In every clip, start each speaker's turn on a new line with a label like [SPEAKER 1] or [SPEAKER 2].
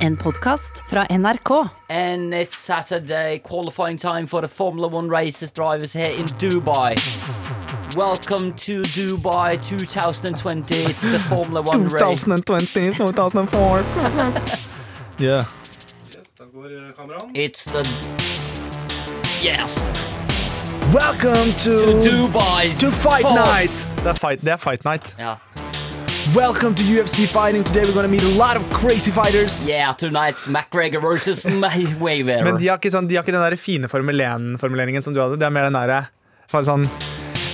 [SPEAKER 1] En podkast fra NRK.
[SPEAKER 2] And it's Saturday, qualifying time for the Formula One races drivers here in Dubai. Welcome to Dubai 2020. It's the Formula One race.
[SPEAKER 3] 2020, 2004 Yeah
[SPEAKER 2] It's the yes
[SPEAKER 3] Welcome
[SPEAKER 2] to
[SPEAKER 3] to,
[SPEAKER 2] Dubai
[SPEAKER 3] to Fight
[SPEAKER 2] Fo-
[SPEAKER 3] Night det er fight, det er fight Night
[SPEAKER 2] Yeah,
[SPEAKER 3] Welcome to UFC Fighting Today we're gonna meet a lot of crazy fighters
[SPEAKER 2] yeah. Tonight's McGregor versus
[SPEAKER 3] Men
[SPEAKER 2] Mayweather.
[SPEAKER 3] de har ikke, sånn, de har ikke den der fine Formel 1-formuleringen som du hadde Det er mer den der for sånn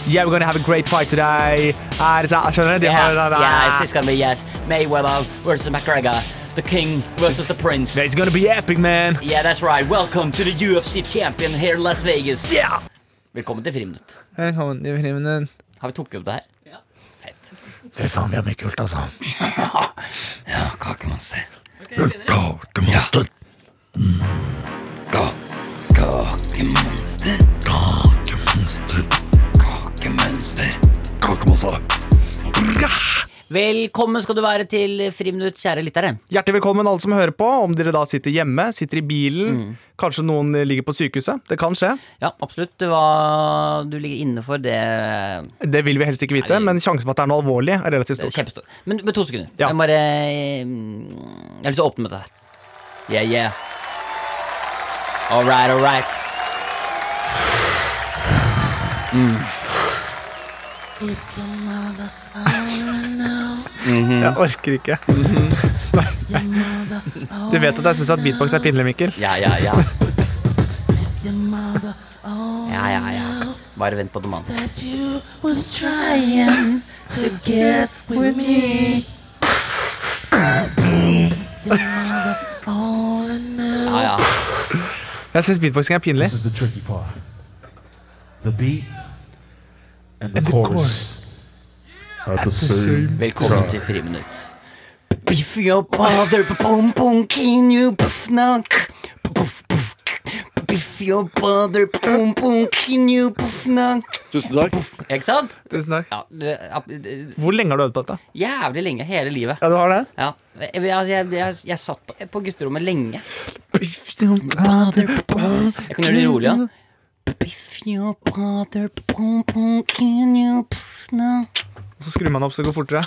[SPEAKER 3] Yeah, we're gonna have a great fight today er, så, Skjønner du? De har
[SPEAKER 2] Yeah,
[SPEAKER 3] den der
[SPEAKER 2] yes, it's gonna be yes. Mayweather versus McGregor. The king versus the prince.
[SPEAKER 3] It's gonna be epic, man
[SPEAKER 2] Yeah, that's right. Welcome to the UFC champion here in Las Vegas.
[SPEAKER 3] Yeah
[SPEAKER 2] Velkommen til Friminutt.
[SPEAKER 3] Velkommen til filmen
[SPEAKER 2] Har vi tatt opp det her? Ja. Fett.
[SPEAKER 3] Fy faen, vi har mye kult, altså
[SPEAKER 2] Ja, kakemonster. Velkommen skal du være til Friminutt, kjære lyttere.
[SPEAKER 3] Hjertelig velkommen alle som hører på, om dere da sitter hjemme, sitter i bilen, kanskje noen ligger på sykehuset. Det kan skje.
[SPEAKER 2] Ja, absolutt. Hva du ligger inne for, det er
[SPEAKER 3] Det vil vi helst ikke vite,
[SPEAKER 2] Nei.
[SPEAKER 3] men sjansen for at det er noe alvorlig, er relativt stor.
[SPEAKER 2] kjempestor. Men med to sekunder.
[SPEAKER 3] Ja.
[SPEAKER 2] Jeg bare mm, Jeg har lyst til å åpne med dette her. Yeah, yeah. All right, all right.
[SPEAKER 3] Jeg orker ikke. Nei, nei. Du vet at jeg syns at beatbox er pinlig, Mikkel.
[SPEAKER 2] Ja, ja, ja. Ja, ja, ja. Bare vent på dem, mann.
[SPEAKER 4] you was trying to get with me.
[SPEAKER 2] Ja, ja.
[SPEAKER 3] Jeg syns beatboxing er pinlig.
[SPEAKER 5] This is the tricky part. The beat and the, chorus, are the, same.
[SPEAKER 2] Velkommen til Friminutt. Biff your brother, pom pom king you puff knock. Puff, puff. Biff your brother, pom pom king you puff knock.
[SPEAKER 6] Tusen takk.
[SPEAKER 2] Ikke sant?
[SPEAKER 3] Tusen takk.
[SPEAKER 2] Ja, du, ap- eh,
[SPEAKER 3] Hvor lenge har du øvd på dette?
[SPEAKER 2] jævlig lenge. Hele livet.
[SPEAKER 3] Ja, du har det?
[SPEAKER 2] Ja. Jeg, jeg, jeg, jeg, jeg satt på, på gutterommet lenge. Jeg kan gjøre det rolig, ja. Biff your brother, pom pom king you puff knock.
[SPEAKER 3] Så skrur man opp så det går fortere.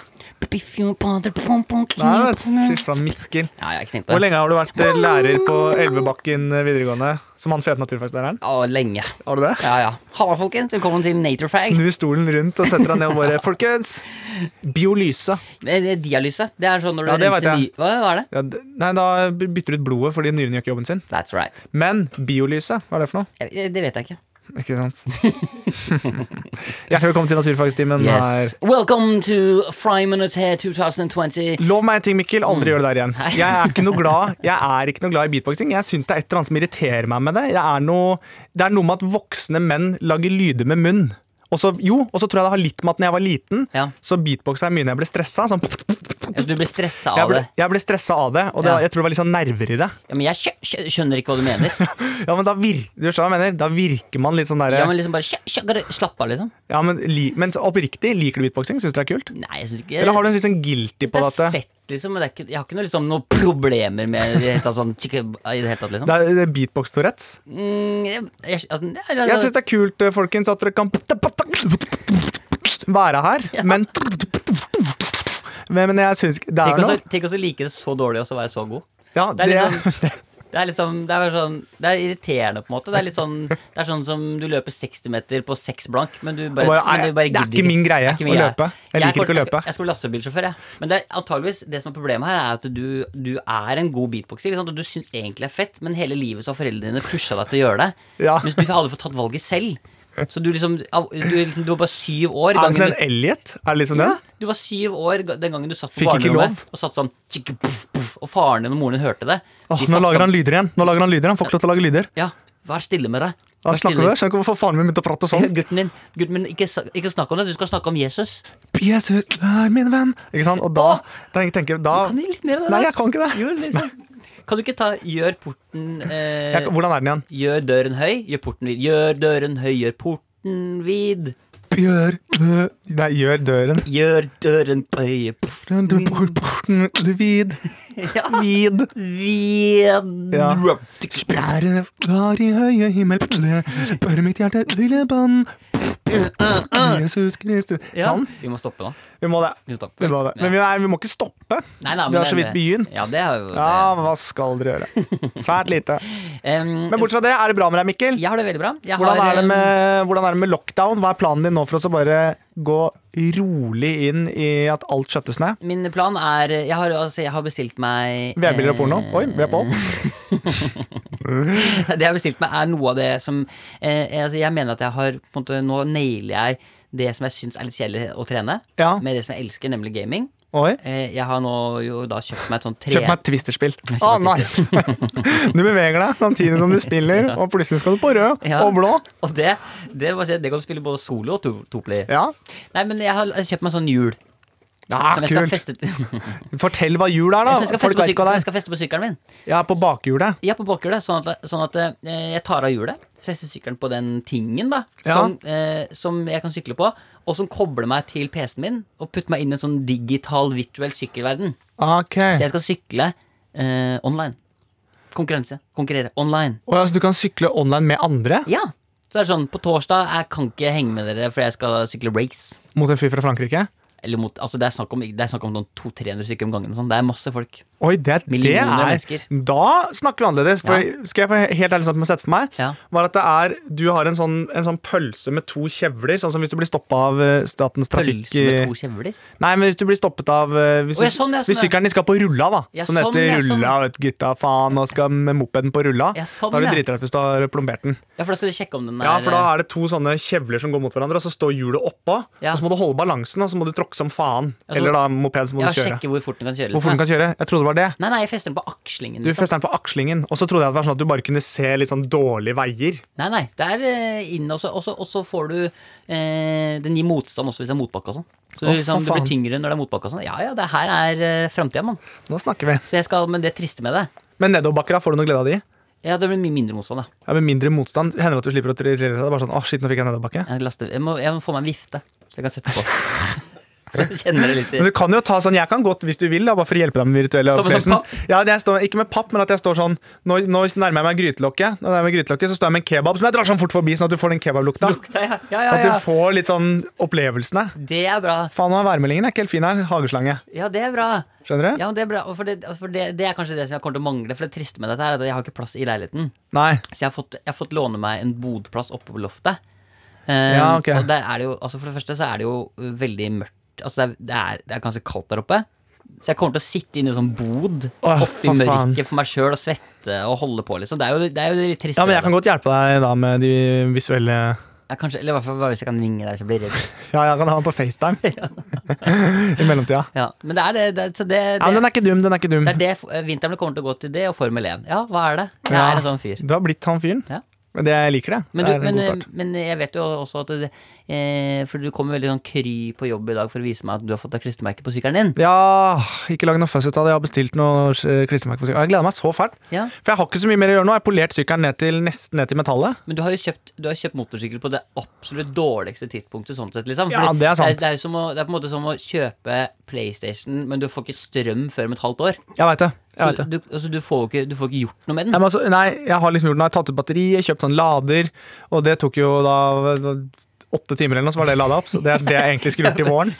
[SPEAKER 2] Biff your brother, pom pom king
[SPEAKER 3] Nei,
[SPEAKER 2] you
[SPEAKER 3] vet
[SPEAKER 2] puff
[SPEAKER 3] du. Fy
[SPEAKER 2] knock.
[SPEAKER 3] faen, Mikkel.
[SPEAKER 2] Ja, jeg knekte
[SPEAKER 3] Hvor
[SPEAKER 2] det.
[SPEAKER 3] lenge har du vært eh, lærer på Elvebakken eh, videregående? Som han fete naturfaglæreren?
[SPEAKER 2] Å, lenge.
[SPEAKER 3] Har du det?
[SPEAKER 2] Ja, ja. Halla, folkens. Velkommen til Naturefag.
[SPEAKER 3] Snu stolen rundt og setter deg ned og bare Folkens! Biolyse.
[SPEAKER 2] Eh, eh, Dialyse. Det er sånn når du
[SPEAKER 3] Ja, det vet
[SPEAKER 2] renser
[SPEAKER 3] jeg.
[SPEAKER 2] ny... Hva, hva er det?
[SPEAKER 3] Ja, d- nei, da bytter du ut blodet fordi nyren gjør ikke jobben sin.
[SPEAKER 2] That's right.
[SPEAKER 3] Men biolyse, hva er det for noe?
[SPEAKER 2] Eh, eh, Det vet jeg ikke.
[SPEAKER 3] Ikke sant? Hjertelig velkommen til naturfagstimen.
[SPEAKER 2] Yes.
[SPEAKER 3] Yes.
[SPEAKER 2] Welcome to eh, Fry Minute here 2020.
[SPEAKER 3] Lov meg en ting, Mikkel.
[SPEAKER 2] Mm.
[SPEAKER 3] Aldri gjør det der igjen. Jeg er ikke noe glad Jeg er ikke noe glad i beatboxing. Jeg syns det er et eller annet som irriterer meg med det. Jeg er noe, det er noe med at voksne menn lager lyder med munn. Og så, jo, og så tror jeg det har litt med at når jeg var liten,
[SPEAKER 2] Ja.
[SPEAKER 3] så beatboxa jeg mye når jeg ble stressa. Sånn,
[SPEAKER 2] Ja, Du ble stressa
[SPEAKER 3] jeg
[SPEAKER 2] av
[SPEAKER 3] ble,
[SPEAKER 2] det.
[SPEAKER 3] jeg ble stressa av det, og det,
[SPEAKER 2] Ja.
[SPEAKER 3] var- jeg tror det var litt sånn nerver i det.
[SPEAKER 2] Ja, men jeg skjø skjø skjønner ikke hva du mener.
[SPEAKER 3] Ja, men da, vir du skjønner hva jeg mener? da virker man litt sånn derre
[SPEAKER 2] Ja, men liksom bare skjø skjø bare Slapp av, liksom.
[SPEAKER 3] Ja, men, li men så oppriktig, liker du beatboxing? Syns du det er kult?
[SPEAKER 2] Nei, jeg syns ikke
[SPEAKER 3] Eller har du en litt sånn guilty
[SPEAKER 2] det
[SPEAKER 3] på
[SPEAKER 2] er
[SPEAKER 3] dette?
[SPEAKER 2] fett, liksom, men det er ikke, jeg har ikke noe, liksom, noen problemer med det i det hele tatt, sånn, chikke- i det hele tatt, liksom.
[SPEAKER 3] Det er det er beatbox-Tourettes.
[SPEAKER 2] Mm, jeg, jeg, altså, jeg, jeg,
[SPEAKER 3] Jeg syns det er kult, eh, folkens, at dere kan være her, men men, men jeg syns ikke Det
[SPEAKER 2] tenk
[SPEAKER 3] er
[SPEAKER 2] også,
[SPEAKER 3] noe.
[SPEAKER 2] tenk også like det så dårlig og så være så god.
[SPEAKER 3] Ja,
[SPEAKER 2] Det er
[SPEAKER 3] det,
[SPEAKER 2] liksom Det er liksom, det er, bare sånn, det er irriterende på en måte. Det er litt sånn, det er sånn som du løper 60 meter på seks blank, men du bare,
[SPEAKER 3] Og bare,
[SPEAKER 2] men du bare
[SPEAKER 3] "Nei, det er
[SPEAKER 2] gidder
[SPEAKER 3] ikke min greie å løpe. Jeg
[SPEAKER 2] kommer-
[SPEAKER 3] liker ikke å
[SPEAKER 2] skal-
[SPEAKER 3] løpe."
[SPEAKER 2] Jeg skal bli lastebilsjåfør, jeg. Men det er, antageligvis, det som er problemet her, er at du, du er en god beatboxer, ikke sant? og du syns egentlig det er fett, men hele livet så har foreldrene dine pusha deg til å gjøre det.
[SPEAKER 3] Ja.
[SPEAKER 2] Mens du hadde fått tatt valget selv. Så du liksom av- Du, du var bare syv år.
[SPEAKER 3] Er det
[SPEAKER 2] gangen
[SPEAKER 3] sånn en
[SPEAKER 2] du-
[SPEAKER 3] Elliot? Er det liksom
[SPEAKER 2] ja,
[SPEAKER 3] den?
[SPEAKER 2] du var syv år ga- den gangen du satt på
[SPEAKER 3] Fikk ikke
[SPEAKER 2] barnerommet
[SPEAKER 3] lov.
[SPEAKER 2] og satt sånn tjikke, puff, puff, Og faren din og moren din hørte det.
[SPEAKER 3] Åh, nå
[SPEAKER 2] sånn
[SPEAKER 3] lager han lyder igjen. Nå lager Han lyder Han får ikke lov til å lage lyder.
[SPEAKER 2] Ja, vær stille med deg. Vær
[SPEAKER 3] Han snakker
[SPEAKER 2] stille.
[SPEAKER 3] om det. Skjønner ikke hvorfor faren min begynte å prate sånn.
[SPEAKER 2] Gutten din, gutten min ikke, sa- ikke snakk om det, du skal snakke om Jesus.
[SPEAKER 3] Jesus er min venn. Ikke sant? Og da tenk- tenker jeg da
[SPEAKER 2] Kan du litt mer av det?
[SPEAKER 3] Nei,
[SPEAKER 2] der?
[SPEAKER 3] jeg kan ikke det.
[SPEAKER 2] Jo, liksom. Kan du ikke ta 'gjør porten eh,
[SPEAKER 3] Jeg, hvordan er den igjen?
[SPEAKER 2] Gjør døren høy, gjør porten vid. Gjør døren høy, gjør porten vid.
[SPEAKER 3] Gjør dø... Nei, gjør døren
[SPEAKER 4] Gjør døren bøye Puff,
[SPEAKER 3] Den du bor porten vid. Vid.
[SPEAKER 4] Vien
[SPEAKER 3] Ja. Spjære var i høye himmel. Bør mitt hjerte lille band. Jesus Kristus. Sånn.
[SPEAKER 2] Vi må stoppe nå.
[SPEAKER 3] Vi må det.
[SPEAKER 2] Vi må stoppe.
[SPEAKER 3] Vi må det. Men vi, nei, vi må ikke stoppe.
[SPEAKER 2] Nei, nei,
[SPEAKER 3] Vi
[SPEAKER 2] men
[SPEAKER 3] har så
[SPEAKER 2] det-
[SPEAKER 3] vidt begynt.
[SPEAKER 2] Ja, det er jo det.
[SPEAKER 3] Ja, hva skal dere gjøre? Svært lite.
[SPEAKER 2] Em,
[SPEAKER 3] Men bortsett fra det, er det bra med deg, Mikkel?
[SPEAKER 2] jeg har det veldig bra. Jeg
[SPEAKER 3] Hvordan
[SPEAKER 2] har, eh,
[SPEAKER 3] er, det
[SPEAKER 2] em,
[SPEAKER 3] med, hvordan er det med lockdown? Hva er planen din nå for oss å bare gå rolig inn i at alt skjøttes ned?
[SPEAKER 2] Min plan er Jeg har, altså, jeg har bestilt meg
[SPEAKER 3] VR-bilder og porno?
[SPEAKER 2] eh,
[SPEAKER 3] Oi, vi er på.
[SPEAKER 2] Det jeg har bestilt meg, er noe av det som eh, jeg- altså, Jeg mener at jeg har på en måte, Nå nailer jeg det som jeg syns er litt kjedelig å trene,
[SPEAKER 3] Ja.
[SPEAKER 2] med det som jeg elsker, nemlig gaming.
[SPEAKER 3] Oi.
[SPEAKER 2] Eh, jeg har nå jo da kjøpt meg et sånt tre...
[SPEAKER 3] Kjøp meg et Twister-spill.
[SPEAKER 2] Jeg
[SPEAKER 3] Ah,
[SPEAKER 2] kjøper meg et
[SPEAKER 3] nice. Du beveger deg samtidig som du spiller, og plutselig skal du på rød
[SPEAKER 2] Ja.
[SPEAKER 3] og blå.
[SPEAKER 2] Og det, det, må jeg si, det kan du spille både solo og to, toplay.
[SPEAKER 3] Ja,
[SPEAKER 2] Nei, men jeg har kjøpt meg sånn hjul.
[SPEAKER 3] ah,
[SPEAKER 2] som jeg skal
[SPEAKER 3] Kult.
[SPEAKER 2] feste Som
[SPEAKER 3] Fortell hva jul
[SPEAKER 2] jeg
[SPEAKER 3] er, da.
[SPEAKER 2] skal feste
[SPEAKER 3] Folk
[SPEAKER 2] på,
[SPEAKER 3] vet
[SPEAKER 2] syk
[SPEAKER 3] ikke hva
[SPEAKER 2] som jeg
[SPEAKER 3] det er.
[SPEAKER 2] skal feste på sykkelen min.
[SPEAKER 3] Ja, på bakhjulet.
[SPEAKER 2] Ja, på bakhjulet. Sånn at, sånn at eh, jeg tar av hjulet, fester sykkelen på den tingen da
[SPEAKER 3] Ja.
[SPEAKER 2] som, eh, som jeg kan sykle på, og som kobler meg til PC-en min. Og putter meg inn i en sånn digital, virtuell sykkelverden.
[SPEAKER 3] Ok.
[SPEAKER 2] Så jeg skal sykle eh, online. Konkurranse. Konkurrere online.
[SPEAKER 3] Og altså, du kan sykle online med andre
[SPEAKER 2] Ja! Så det er sånn, på torsdag jeg kan ikke henge med dere fordi jeg skal sykle race.
[SPEAKER 3] mot en fyr fra Frankrike?
[SPEAKER 2] Eller mot, altså Det er snakk om, det er snakk om noen 200-300 stykker om gangen. og Sånn. Det er masse folk.
[SPEAKER 3] Oi, det, det
[SPEAKER 2] Millioner av
[SPEAKER 3] er
[SPEAKER 2] mennesker.
[SPEAKER 3] Da snakker vi annerledes. For Skal jeg få he- helt ærlig sånn at man setter for meg,
[SPEAKER 2] Ja.
[SPEAKER 3] var at det er Du har en sånn, en sånn pølse med to kjevler, sånn som hvis du blir stoppa av eh, Statens trafikk...
[SPEAKER 2] Pølse med to kjevler.
[SPEAKER 3] Nei, men hvis du blir stoppet av eh,
[SPEAKER 2] Å,
[SPEAKER 3] Hvis,
[SPEAKER 2] ja,
[SPEAKER 3] du-
[SPEAKER 2] sånn, ja,
[SPEAKER 3] hvis
[SPEAKER 2] sånn, ja.
[SPEAKER 3] sykkelen din skal på rulla, da.
[SPEAKER 2] Ja,
[SPEAKER 3] som
[SPEAKER 2] sånn,
[SPEAKER 3] heter
[SPEAKER 2] ja, sånn.
[SPEAKER 3] rulla, vet gutta faen, og skal med mopeden på rulla.
[SPEAKER 2] Ja, sånn,
[SPEAKER 3] da er
[SPEAKER 2] ja.
[SPEAKER 3] du drittrett hvis du har plombert den.
[SPEAKER 2] Ja, for da skal de sjekke om den er
[SPEAKER 3] Ja, for da er det to sånne kjevler som går mot hverandre, og så står hjulet oppå.
[SPEAKER 2] Ja.
[SPEAKER 3] Og så må du holde balansen, og så må du tråkke som faen.
[SPEAKER 2] Ja, så-
[SPEAKER 3] Eller da moped, så må
[SPEAKER 2] eh, ja,
[SPEAKER 3] du kjøre.
[SPEAKER 2] sjekke hvor fort den kan kjøre.
[SPEAKER 3] Hvor fort
[SPEAKER 2] liksom,
[SPEAKER 3] du kan kjøre? Jeg trodde det var det.
[SPEAKER 2] ja. Nei, nei, jeg fester den på akslingen.
[SPEAKER 3] Du
[SPEAKER 2] liksom.
[SPEAKER 3] fester den på akslingen, og så trodde jeg at det var sånn at du bare kunne se litt sånn dårlige veier.
[SPEAKER 2] Nei, nei, det er eh, inn, og så- og så og så får du eh, Den gir motstand også hvis det er motbakke og sånn. Så
[SPEAKER 3] Å,
[SPEAKER 2] du, liksom,
[SPEAKER 3] for
[SPEAKER 2] du blir
[SPEAKER 3] faen.
[SPEAKER 2] tyngre når det er motbakke og sånn. Ja ja, det her er eh, framtida, mann.
[SPEAKER 3] Nå snakker vi.
[SPEAKER 2] Så jeg skal Men det triste med det
[SPEAKER 3] Men nedoverbakkera, får du noe glede av de?
[SPEAKER 2] Ja, det blir mye mindre motstand, da.
[SPEAKER 3] Ja, med mindre motstand hender det at du slipper å trillere deg. Bare sånn, å shit, nå fikk jeg nedoverbakke.
[SPEAKER 2] Jeg, laster, jeg, må, jeg må få meg en vifte, så jeg kan sette på. så jeg kjenner det litt i
[SPEAKER 3] Men du kan jo ta sånn, jeg kan godt hvis du vil, da, bare for å hjelpe deg med den virtuelle
[SPEAKER 2] Stå med sånn papp?
[SPEAKER 3] Ja, jeg står, ikke med papp, men at jeg står sånn Nå, nå nærmer jeg meg grytelokket, Nå nærmer jeg meg grytelokket, så står jeg med en kebab som jeg drar sånn fort forbi, sånn at du får den kebablukta.
[SPEAKER 2] Lukta, ja. Ja, ja,
[SPEAKER 3] At du
[SPEAKER 2] ja.
[SPEAKER 3] får litt sånn opplevelsene.
[SPEAKER 2] Det er bra.
[SPEAKER 3] Faen, nå er værmeldingen er ikke helt fin her. Hageslange.
[SPEAKER 2] Ja, det er bra.
[SPEAKER 3] Skjønner du?
[SPEAKER 2] Ja, men det er bra. og For det, altså, for det, det er kanskje det som jeg kommer til å mangle. For det triste med dette her er at jeg har ikke plass i leiligheten.
[SPEAKER 3] Nei.
[SPEAKER 2] Så jeg har fått, jeg har fått låne meg en bodplass oppe på loftet. Eh,
[SPEAKER 3] Ja, ok.
[SPEAKER 2] Og der er det jo, altså for det første så er det jo uh, veldig mørkt. Altså det er, det er, det er ganske kaldt der oppe. Så jeg kommer til å sitte inne i en sånn bod
[SPEAKER 3] Åh,
[SPEAKER 2] oppi
[SPEAKER 3] for faen.
[SPEAKER 2] mørket for meg sjøl og svette og holde på, liksom. Det er jo det, er jo det litt triste.
[SPEAKER 3] Ja, men
[SPEAKER 2] med
[SPEAKER 3] jeg kan
[SPEAKER 2] det.
[SPEAKER 3] godt hjelpe deg da med de visuelle
[SPEAKER 2] Ja, kanskje, eller i hvert fall bare hvis jeg kan ringe deg hvis jeg blir redd.
[SPEAKER 3] Ja, jeg kan ha den på FaceTime i mellomtida.
[SPEAKER 2] Ja, men det er det, det, så det,
[SPEAKER 3] Ja, men
[SPEAKER 2] det,
[SPEAKER 3] den er ikke dum, den er ikke dum.
[SPEAKER 2] det er det f- eh, vinteren kommer til å gå til det, og Formel 1. Ja, hva er det? Jeg
[SPEAKER 3] Ja.
[SPEAKER 2] er en sånn fyr.
[SPEAKER 3] Du har blitt han fyren.
[SPEAKER 2] Ja.
[SPEAKER 3] Men det jeg liker det.
[SPEAKER 2] Men,
[SPEAKER 3] det
[SPEAKER 2] du,
[SPEAKER 3] er en
[SPEAKER 2] men, eh,
[SPEAKER 3] god start.
[SPEAKER 2] men jeg vet jo også at du, eh, For du kommer veldig sånn kry på jobb i dag for å vise meg at du har fått deg klistremerke på sykkelen din.
[SPEAKER 3] Ja, ikke lag noe fuss ut av det. Jeg har bestilt noe eh, klistremerke på sykkelen. Jeg gleder meg så fælt.
[SPEAKER 2] Ja.
[SPEAKER 3] For jeg har ikke så mye mer å gjøre nå. Jeg har polert sykkelen ned til, nesten ned til metallet.
[SPEAKER 2] Men du har jo kjøpt, du har kjøpt motorsykkel på det absolutt dårligste tidspunktet. sånn sett, liksom.
[SPEAKER 3] Ja,
[SPEAKER 2] Fordi
[SPEAKER 3] det er sant.
[SPEAKER 2] Det er, jo som å, det er på en måte som å kjøpe PlayStation, men du får ikke strøm før om et halvt år.
[SPEAKER 3] Jeg veit det. Jeg
[SPEAKER 2] Så
[SPEAKER 3] vet det.
[SPEAKER 2] du, altså, du, får jo ikke, du får ikke gjort noe med
[SPEAKER 3] Nei,
[SPEAKER 2] den.
[SPEAKER 3] men altså, nei, jeg har liksom gjort noe. Jeg har tatt ut batteriet, kjøpt sånn lader, og det tok jo da åtte timer eller noe, så var det lada opp. Så det er det jeg egentlig skulle gjort i våren.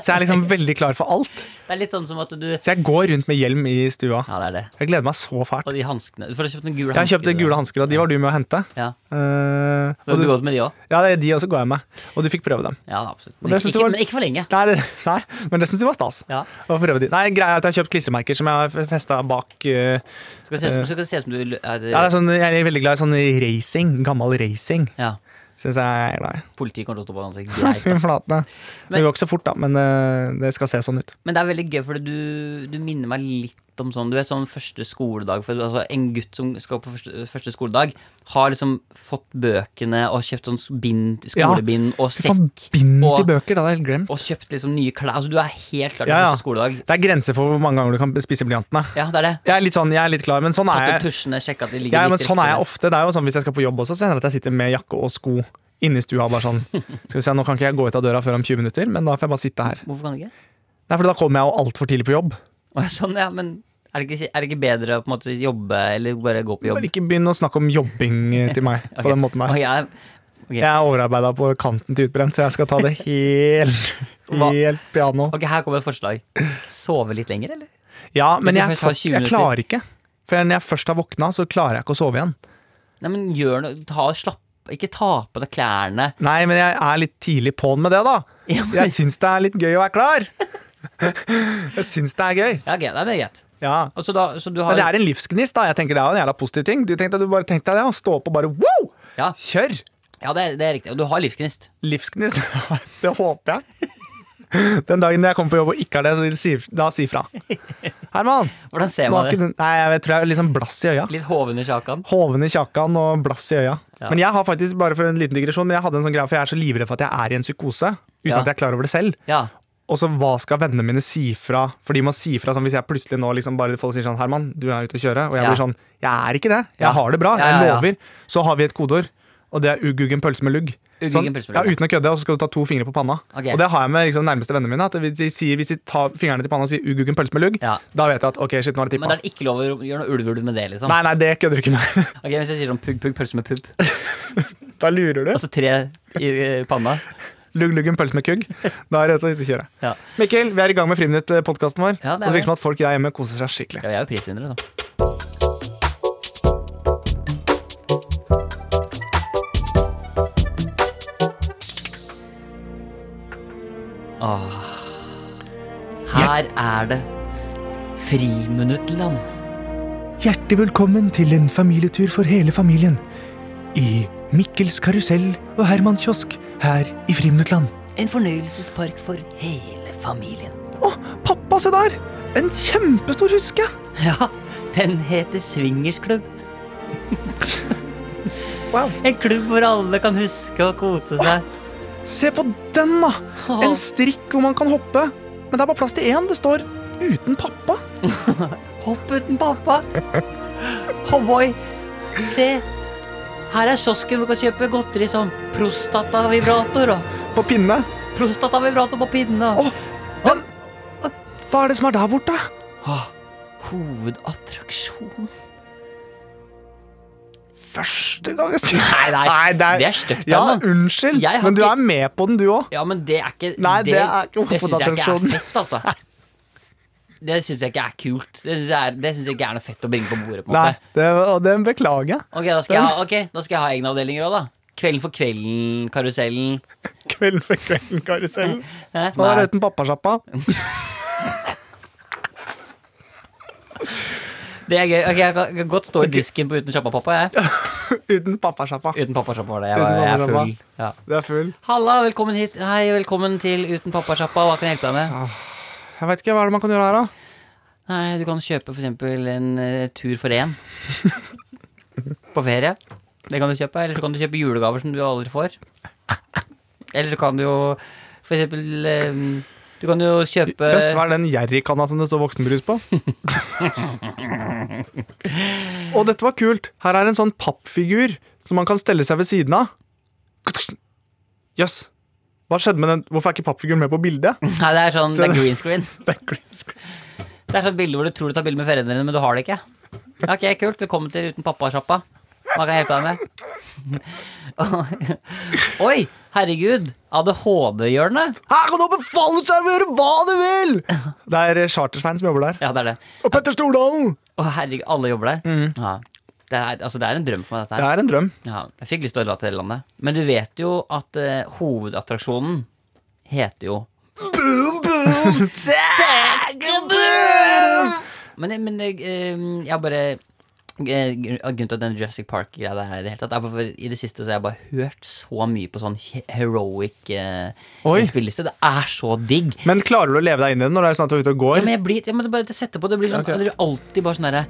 [SPEAKER 3] Så jeg er liksom veldig klar for alt.
[SPEAKER 2] Det er litt sånn som at du
[SPEAKER 3] Så jeg går rundt med hjelm i stua.
[SPEAKER 2] Ja, det er det.
[SPEAKER 3] Jeg gleder meg så fælt.
[SPEAKER 2] Og de hanskene. For du har kjøpt den gule
[SPEAKER 3] Jeg har kjøpt de
[SPEAKER 2] du.
[SPEAKER 3] gule hansker, og de var du med å hente.
[SPEAKER 2] Ja.
[SPEAKER 3] Eh,
[SPEAKER 2] Du har
[SPEAKER 3] og du,
[SPEAKER 2] gått med de òg?
[SPEAKER 3] ja, det er de også går jeg med. Og du fikk prøve dem.
[SPEAKER 2] Ja, absolutt.
[SPEAKER 3] det
[SPEAKER 2] Men ikke,
[SPEAKER 3] synes jeg var-
[SPEAKER 2] men ikke for lenge.
[SPEAKER 3] Nei, det, nei men det syns jeg var stas.
[SPEAKER 2] Ja.
[SPEAKER 3] Å prøve de. Nei, greia er at jeg har kjøpt klistremerker som jeg har festa bak eh,
[SPEAKER 2] Skal det se ut som, skal det se ut som du er,
[SPEAKER 3] ja, det er sånn, Jeg er veldig glad i sånn racing. Gammel racing.
[SPEAKER 2] ja.
[SPEAKER 3] Syns jeg er glad i.
[SPEAKER 2] Politiet kommer til å stå på ansiktet. Greit,
[SPEAKER 3] Fy
[SPEAKER 2] da.
[SPEAKER 3] flate.
[SPEAKER 2] Men-
[SPEAKER 3] Det går ikke så fort, da, men eh, det skal se sånn ut.
[SPEAKER 2] Men det er veldig gøy, for du, du minner meg litt om sånn Du vet sånn første skoledag for, altså, En gutt som skal på første, første skoledag, har liksom fått bøkene og kjøpt sånn bind,
[SPEAKER 3] Ja.
[SPEAKER 2] skolebind og
[SPEAKER 3] Fy faen,
[SPEAKER 2] sekk.
[SPEAKER 3] bind
[SPEAKER 2] og-
[SPEAKER 3] i bøker, det hadde jeg helt glemt.
[SPEAKER 2] Og kjøpt liksom nye klær. Altså, du er helt klar til
[SPEAKER 3] Ja, ja.
[SPEAKER 2] første skoledag.
[SPEAKER 3] Det er grenser for hvor mange ganger du kan spise blyantene.
[SPEAKER 2] Ja, det er det.
[SPEAKER 3] Jeg er litt sånn, jeg er litt klar, men sånn
[SPEAKER 2] Tatt
[SPEAKER 3] er
[SPEAKER 2] opp
[SPEAKER 3] jeg.
[SPEAKER 2] tusjene, sjekka at de ligger
[SPEAKER 3] Ja, men
[SPEAKER 2] riktig
[SPEAKER 3] sånn er jeg
[SPEAKER 2] rekkefølge.
[SPEAKER 3] ofte. Det er jo sånn Hvis jeg skal på jobb også, så hender det at jeg sitter med jakke og sko inne i stua og bare sånn Skal vi se, nå kan ikke jeg gå ut av døra før om 20 minutter, men da får jeg bare sitte her.
[SPEAKER 2] Hvorfor kan du ikke?
[SPEAKER 3] Nei, for da kommer jeg jo altfor tidlig på jobb.
[SPEAKER 2] Å, ja, sånn, ja, men er det, ikke, er det ikke bedre å på en måte jobbe eller bare gå på jobb?
[SPEAKER 3] Bare ikke begynn å snakke om jobbing eh, til meg på
[SPEAKER 2] Ok.
[SPEAKER 3] den måten
[SPEAKER 2] Å,
[SPEAKER 3] der.
[SPEAKER 2] jeg,
[SPEAKER 3] Jeg er overarbeida på kanten til utbrent, så jeg skal ta det helt,
[SPEAKER 2] Hva?
[SPEAKER 3] helt piano.
[SPEAKER 2] ok, her kommer et forslag. Sove litt lenger, eller?
[SPEAKER 3] Ja, men
[SPEAKER 2] du
[SPEAKER 3] jeg,
[SPEAKER 2] først har
[SPEAKER 3] fuck-
[SPEAKER 2] 20
[SPEAKER 3] jeg
[SPEAKER 2] minutter.
[SPEAKER 3] klarer ikke. For når jeg først har våkna, så klarer jeg ikke å sove igjen.
[SPEAKER 2] Nei, men gjør noe. Ta, slapp Ikke ta på deg klærne.
[SPEAKER 3] Nei, men jeg er litt tidlig på'n med det, da.
[SPEAKER 2] Ja, men-
[SPEAKER 3] Jeg syns det er litt gøy å være klar. Jeg syns det er gøy.
[SPEAKER 2] Ja, ok, det er greit.
[SPEAKER 3] Ja.
[SPEAKER 2] Og så da, så du har,
[SPEAKER 3] Men det er en livsgnist, da. Jeg tenker Det er jo en jævla positiv ting. Du tenkte at du bare tenkte deg det, og stå opp og bare wow!
[SPEAKER 2] Ja.
[SPEAKER 3] Kjør!
[SPEAKER 2] ja, det, er, det er riktig. Og du har livsgnist.
[SPEAKER 3] Livsgnist. Det håper jeg. Den dagen jeg kommer på jobb og ikke har det, så sier- da si fra. Herman,
[SPEAKER 2] Hvordan ser
[SPEAKER 3] nå
[SPEAKER 2] man
[SPEAKER 3] har
[SPEAKER 2] det?
[SPEAKER 3] ikke du Nei, jeg tror jeg er litt sånn blass i øya.
[SPEAKER 2] Litt hoven i sjakan.
[SPEAKER 3] Hoven i kjakan og blass i øya.
[SPEAKER 2] Ja.
[SPEAKER 3] Men jeg har faktisk, bare for en liten digresjon, jeg hadde en sånn greie, for jeg er så livredd for at jeg er i en psykose. Uten
[SPEAKER 2] Ja.
[SPEAKER 3] at jeg er klar over det selv.
[SPEAKER 2] Ja.
[SPEAKER 3] Og så hva skal vennene mine si fra? For de må si fra sånn hvis jeg plutselig nå liksom bare folk sier sånn Herman, du er ute å kjøre. Og jeg
[SPEAKER 2] Ja.
[SPEAKER 3] blir sånn Jeg er ikke det. Jeg
[SPEAKER 2] Ja.
[SPEAKER 3] har det
[SPEAKER 2] Ja,
[SPEAKER 3] bra. Jeg
[SPEAKER 2] ja, ja.
[SPEAKER 3] lover. Så har vi et kodeord. Og det er uguggen pølse med lugg.
[SPEAKER 2] Uguggen
[SPEAKER 3] Sånn,
[SPEAKER 2] pølse med
[SPEAKER 3] ja,
[SPEAKER 2] lugg.
[SPEAKER 3] uten å kødde, og så skal du ta to fingre på panna.
[SPEAKER 2] Ok.
[SPEAKER 3] Og det har jeg med liksom, nærmeste vennene mine. At hvis de, sier, hvis de tar fingrene til panna og sier 'uguggen pølse med lugg',
[SPEAKER 2] Ja.
[SPEAKER 3] da vet jeg at ok, shit, nå har det
[SPEAKER 2] Men da
[SPEAKER 3] tippa.
[SPEAKER 2] er det ikke lov å gjøre noe ulvulv med det, liksom.
[SPEAKER 3] Nei, nei, det kødder du ikke med.
[SPEAKER 2] Ok, Hvis jeg sier sånn pugg, pugg, pølse med pupp,
[SPEAKER 3] da lurer du.
[SPEAKER 2] og så tre i eh, panna
[SPEAKER 3] Lugg-luggen pølse med kugg. Da er det så ute å kjøre.
[SPEAKER 2] Ja.
[SPEAKER 3] Mikkel, vi er i gang med Friminutt-podkasten vår.
[SPEAKER 2] Ja, det er
[SPEAKER 3] og det
[SPEAKER 2] vi.
[SPEAKER 3] virker som at folk der hjemme koser seg skikkelig.
[SPEAKER 2] Ja, jeg er jo prisvinner, liksom. Åh. Ah. Her er det friminuttland.
[SPEAKER 3] Hjertelig velkommen til en familietur for hele familien. I Mikkels karusell og Herman kiosk her i Friminuttland.
[SPEAKER 2] En fornøyelsespark for hele familien.
[SPEAKER 3] Å, pappa, se der! En kjempestor huske!
[SPEAKER 2] Ja, den heter Swingersklubb.
[SPEAKER 3] Wow.
[SPEAKER 2] En klubb hvor alle kan huske å kose seg.
[SPEAKER 3] Se på den, da!
[SPEAKER 2] Åh.
[SPEAKER 3] En strikk hvor man kan hoppe. Men det er bare plass til én. Det står 'uten pappa'.
[SPEAKER 2] Hopp uten pappa. Homboy, se. Her er kiosken hvor du kan kjøpe godteri som prostatavibrator og
[SPEAKER 3] På pinne.
[SPEAKER 2] prostatavibrator på pinne. og-
[SPEAKER 3] Åh, Men hva er det som er der borte?
[SPEAKER 2] Åh, Hovedattraksjon.
[SPEAKER 3] Første gang jeg
[SPEAKER 2] Nei,
[SPEAKER 3] sier
[SPEAKER 2] nei,
[SPEAKER 3] det er-
[SPEAKER 2] det er stygt,
[SPEAKER 3] Ja,
[SPEAKER 2] Herman.
[SPEAKER 3] unnskyld,
[SPEAKER 2] Jeg har
[SPEAKER 3] men du
[SPEAKER 2] ikke-
[SPEAKER 3] er med på den, du òg.
[SPEAKER 2] Ja, men det er ikke
[SPEAKER 3] Nei, det er ikke
[SPEAKER 2] det synes jeg ikke
[SPEAKER 3] hovedattraksjonen.
[SPEAKER 2] er fett, altså. Det syns jeg ikke er kult. Det syns jeg, er- det synes jeg ikke er noe fett å bringe på bordet. på en
[SPEAKER 3] Nei,
[SPEAKER 2] måte
[SPEAKER 3] det, og den beklager jeg.
[SPEAKER 2] Ok, da skal jeg ha, ok, da skal jeg ha egne avdelinger òg, da. Kvelden for kvelden-karusellen.
[SPEAKER 3] Kvelden for kvelden-karusellen.
[SPEAKER 2] Hæ?
[SPEAKER 3] Hva
[SPEAKER 2] Nei.
[SPEAKER 3] er det uten pappasjappa?
[SPEAKER 2] Det er gøy. Ok, Jeg kan- kan godt stå i disken på uten sjappa pappa, jeg.
[SPEAKER 3] Uten pappasjappa.
[SPEAKER 2] Uten pappasjappa var det. Jeg,
[SPEAKER 3] Uten
[SPEAKER 2] var, jeg er
[SPEAKER 3] pappasjappa.
[SPEAKER 2] full. Ja.
[SPEAKER 3] Du er full.
[SPEAKER 2] Halla, velkommen hit. Hei, velkommen til Uten pappasjappa. Hva kan jeg hjelpe deg med?
[SPEAKER 3] Jeg vet ikke, Hva er det man kan gjøre her, da?
[SPEAKER 2] Nei, Du kan kjøpe f.eks. en eh, tur for én på ferie. Det kan du kjøpe. Eller så kan du kjøpe julegaver som du aldri får. Eller så kan du jo f.eks. Du kan jo kjøpe
[SPEAKER 3] Jøss, hva er den jerrykanna som det står voksenbrus på? Og dette var kult. Her er en sånn pappfigur som man kan stelle seg ved siden av. Jøss. Hva skjedde med den? Hvorfor er ikke pappfiguren med på bildet?
[SPEAKER 2] Nei, det er sånn det er green screen.
[SPEAKER 3] Det er green screen.
[SPEAKER 2] Det er sånn bilde hvor du tror du tar bilde med foreldrene dine, men du har det ikke. Ja, Ok, kult. Velkommen til Uten pappa-sjappa. Hva kan jeg hjelpe deg med? Oi! Herregud. ADHD-hjørnet?
[SPEAKER 3] Her kan du befale seg å gjøre hva du vil! Det er eh, Charter-Svein som jobber der.
[SPEAKER 2] Ja, det er det.
[SPEAKER 3] Og Petter Stordalen!
[SPEAKER 2] Å, herregud. Alle jobber der? Ja. Det er, altså, det er en drøm for meg, dette
[SPEAKER 3] Det
[SPEAKER 2] her.
[SPEAKER 3] er en drøm.
[SPEAKER 2] Ja, jeg fikk lyst til å dra til hele landet. Men du vet jo at eh, hovedattraksjonen heter jo Men, men jeg, eh, jeg har bare eh, Grunnen til at den Jurassic Park-greia der er i det hele tatt, er bare for i det siste så har jeg bare hørt så mye på sånn he- heroic eh,
[SPEAKER 3] Oi.
[SPEAKER 2] spilleliste. Det er så digg.
[SPEAKER 3] Men klarer du å leve deg inn i det når det er sånn at du er ute og
[SPEAKER 2] Ja,
[SPEAKER 3] går?
[SPEAKER 2] men jeg blir, ja, men det bare setter på, det blir sånn,
[SPEAKER 3] Ok.
[SPEAKER 2] det blir alltid bare sånn derre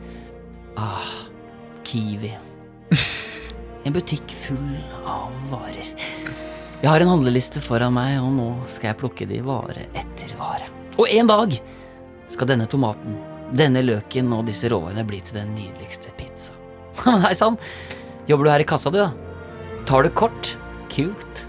[SPEAKER 2] Ah, Kiwi. En butikk full av varer. Jeg har en handleliste foran meg, og nå skal jeg plukke de vare etter vare. Og en dag skal denne tomaten, denne løken og disse råvarene bli til den nydeligste pizza. Hei sann, jobber du her i kassa du, da? Tar du kort? kult.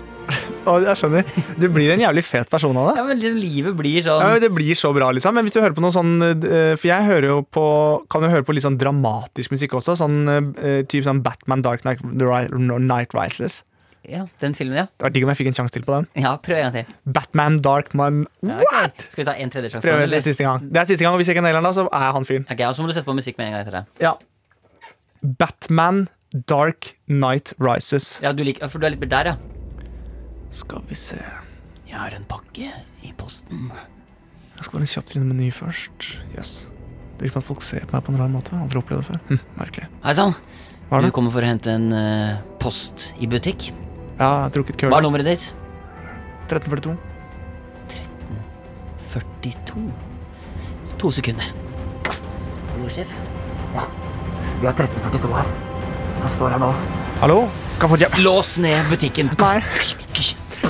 [SPEAKER 3] Å, Jeg skjønner. Du blir en jævlig fet person av det.
[SPEAKER 2] Ja, men liksom, livet blir
[SPEAKER 3] Ja,
[SPEAKER 2] sånn
[SPEAKER 3] men det blir så bra, liksom. Men hvis du hører på noe sånn eh, For jeg hører jo på kan jo høre på litt sånn dramatisk musikk også. Sånn eh, typ sånn Batman Dark Night, Night Rises.
[SPEAKER 2] Ja, den filmen, ja.
[SPEAKER 3] Det var digg om jeg fikk en sjanse til på den.
[SPEAKER 2] Ja, prøv en gang til.
[SPEAKER 3] Batman Dark Man
[SPEAKER 2] Ja, ok.
[SPEAKER 3] What?!
[SPEAKER 2] Skal vi ta en tredje sjanse? på
[SPEAKER 3] Prøv
[SPEAKER 2] den,
[SPEAKER 3] det
[SPEAKER 2] eller?
[SPEAKER 3] siste gang. Det er siste gang, og hvis jeg ikke nailer den, da, så er jeg han fyren.
[SPEAKER 2] Ok, og så må du sette på musikk med en gang etter det.
[SPEAKER 3] Ja. Batman Dark Night Rises.
[SPEAKER 2] Ja, du liker, for du er litt der, ja.
[SPEAKER 3] Skal vi se
[SPEAKER 2] Jeg har en pakke i posten.
[SPEAKER 3] Jeg skal bare kjapt innom meny først. Jøss. Det virker som at folk ser på meg på en rar måte. Jeg har Aldri opplevd det før. Hm, merkelig.
[SPEAKER 2] Hei sann,
[SPEAKER 3] Hva er
[SPEAKER 2] du
[SPEAKER 3] det?
[SPEAKER 2] kommer for å hente en eh, post i butikk.
[SPEAKER 3] Ja, jeg har drukket køl.
[SPEAKER 2] Hva er nummeret ditt?
[SPEAKER 3] 1342.
[SPEAKER 2] 42. To sekunder. Hallo, sjef.
[SPEAKER 3] Hallo? Kan jeg få et hjem?
[SPEAKER 2] Lås ned butikken.
[SPEAKER 3] Nei.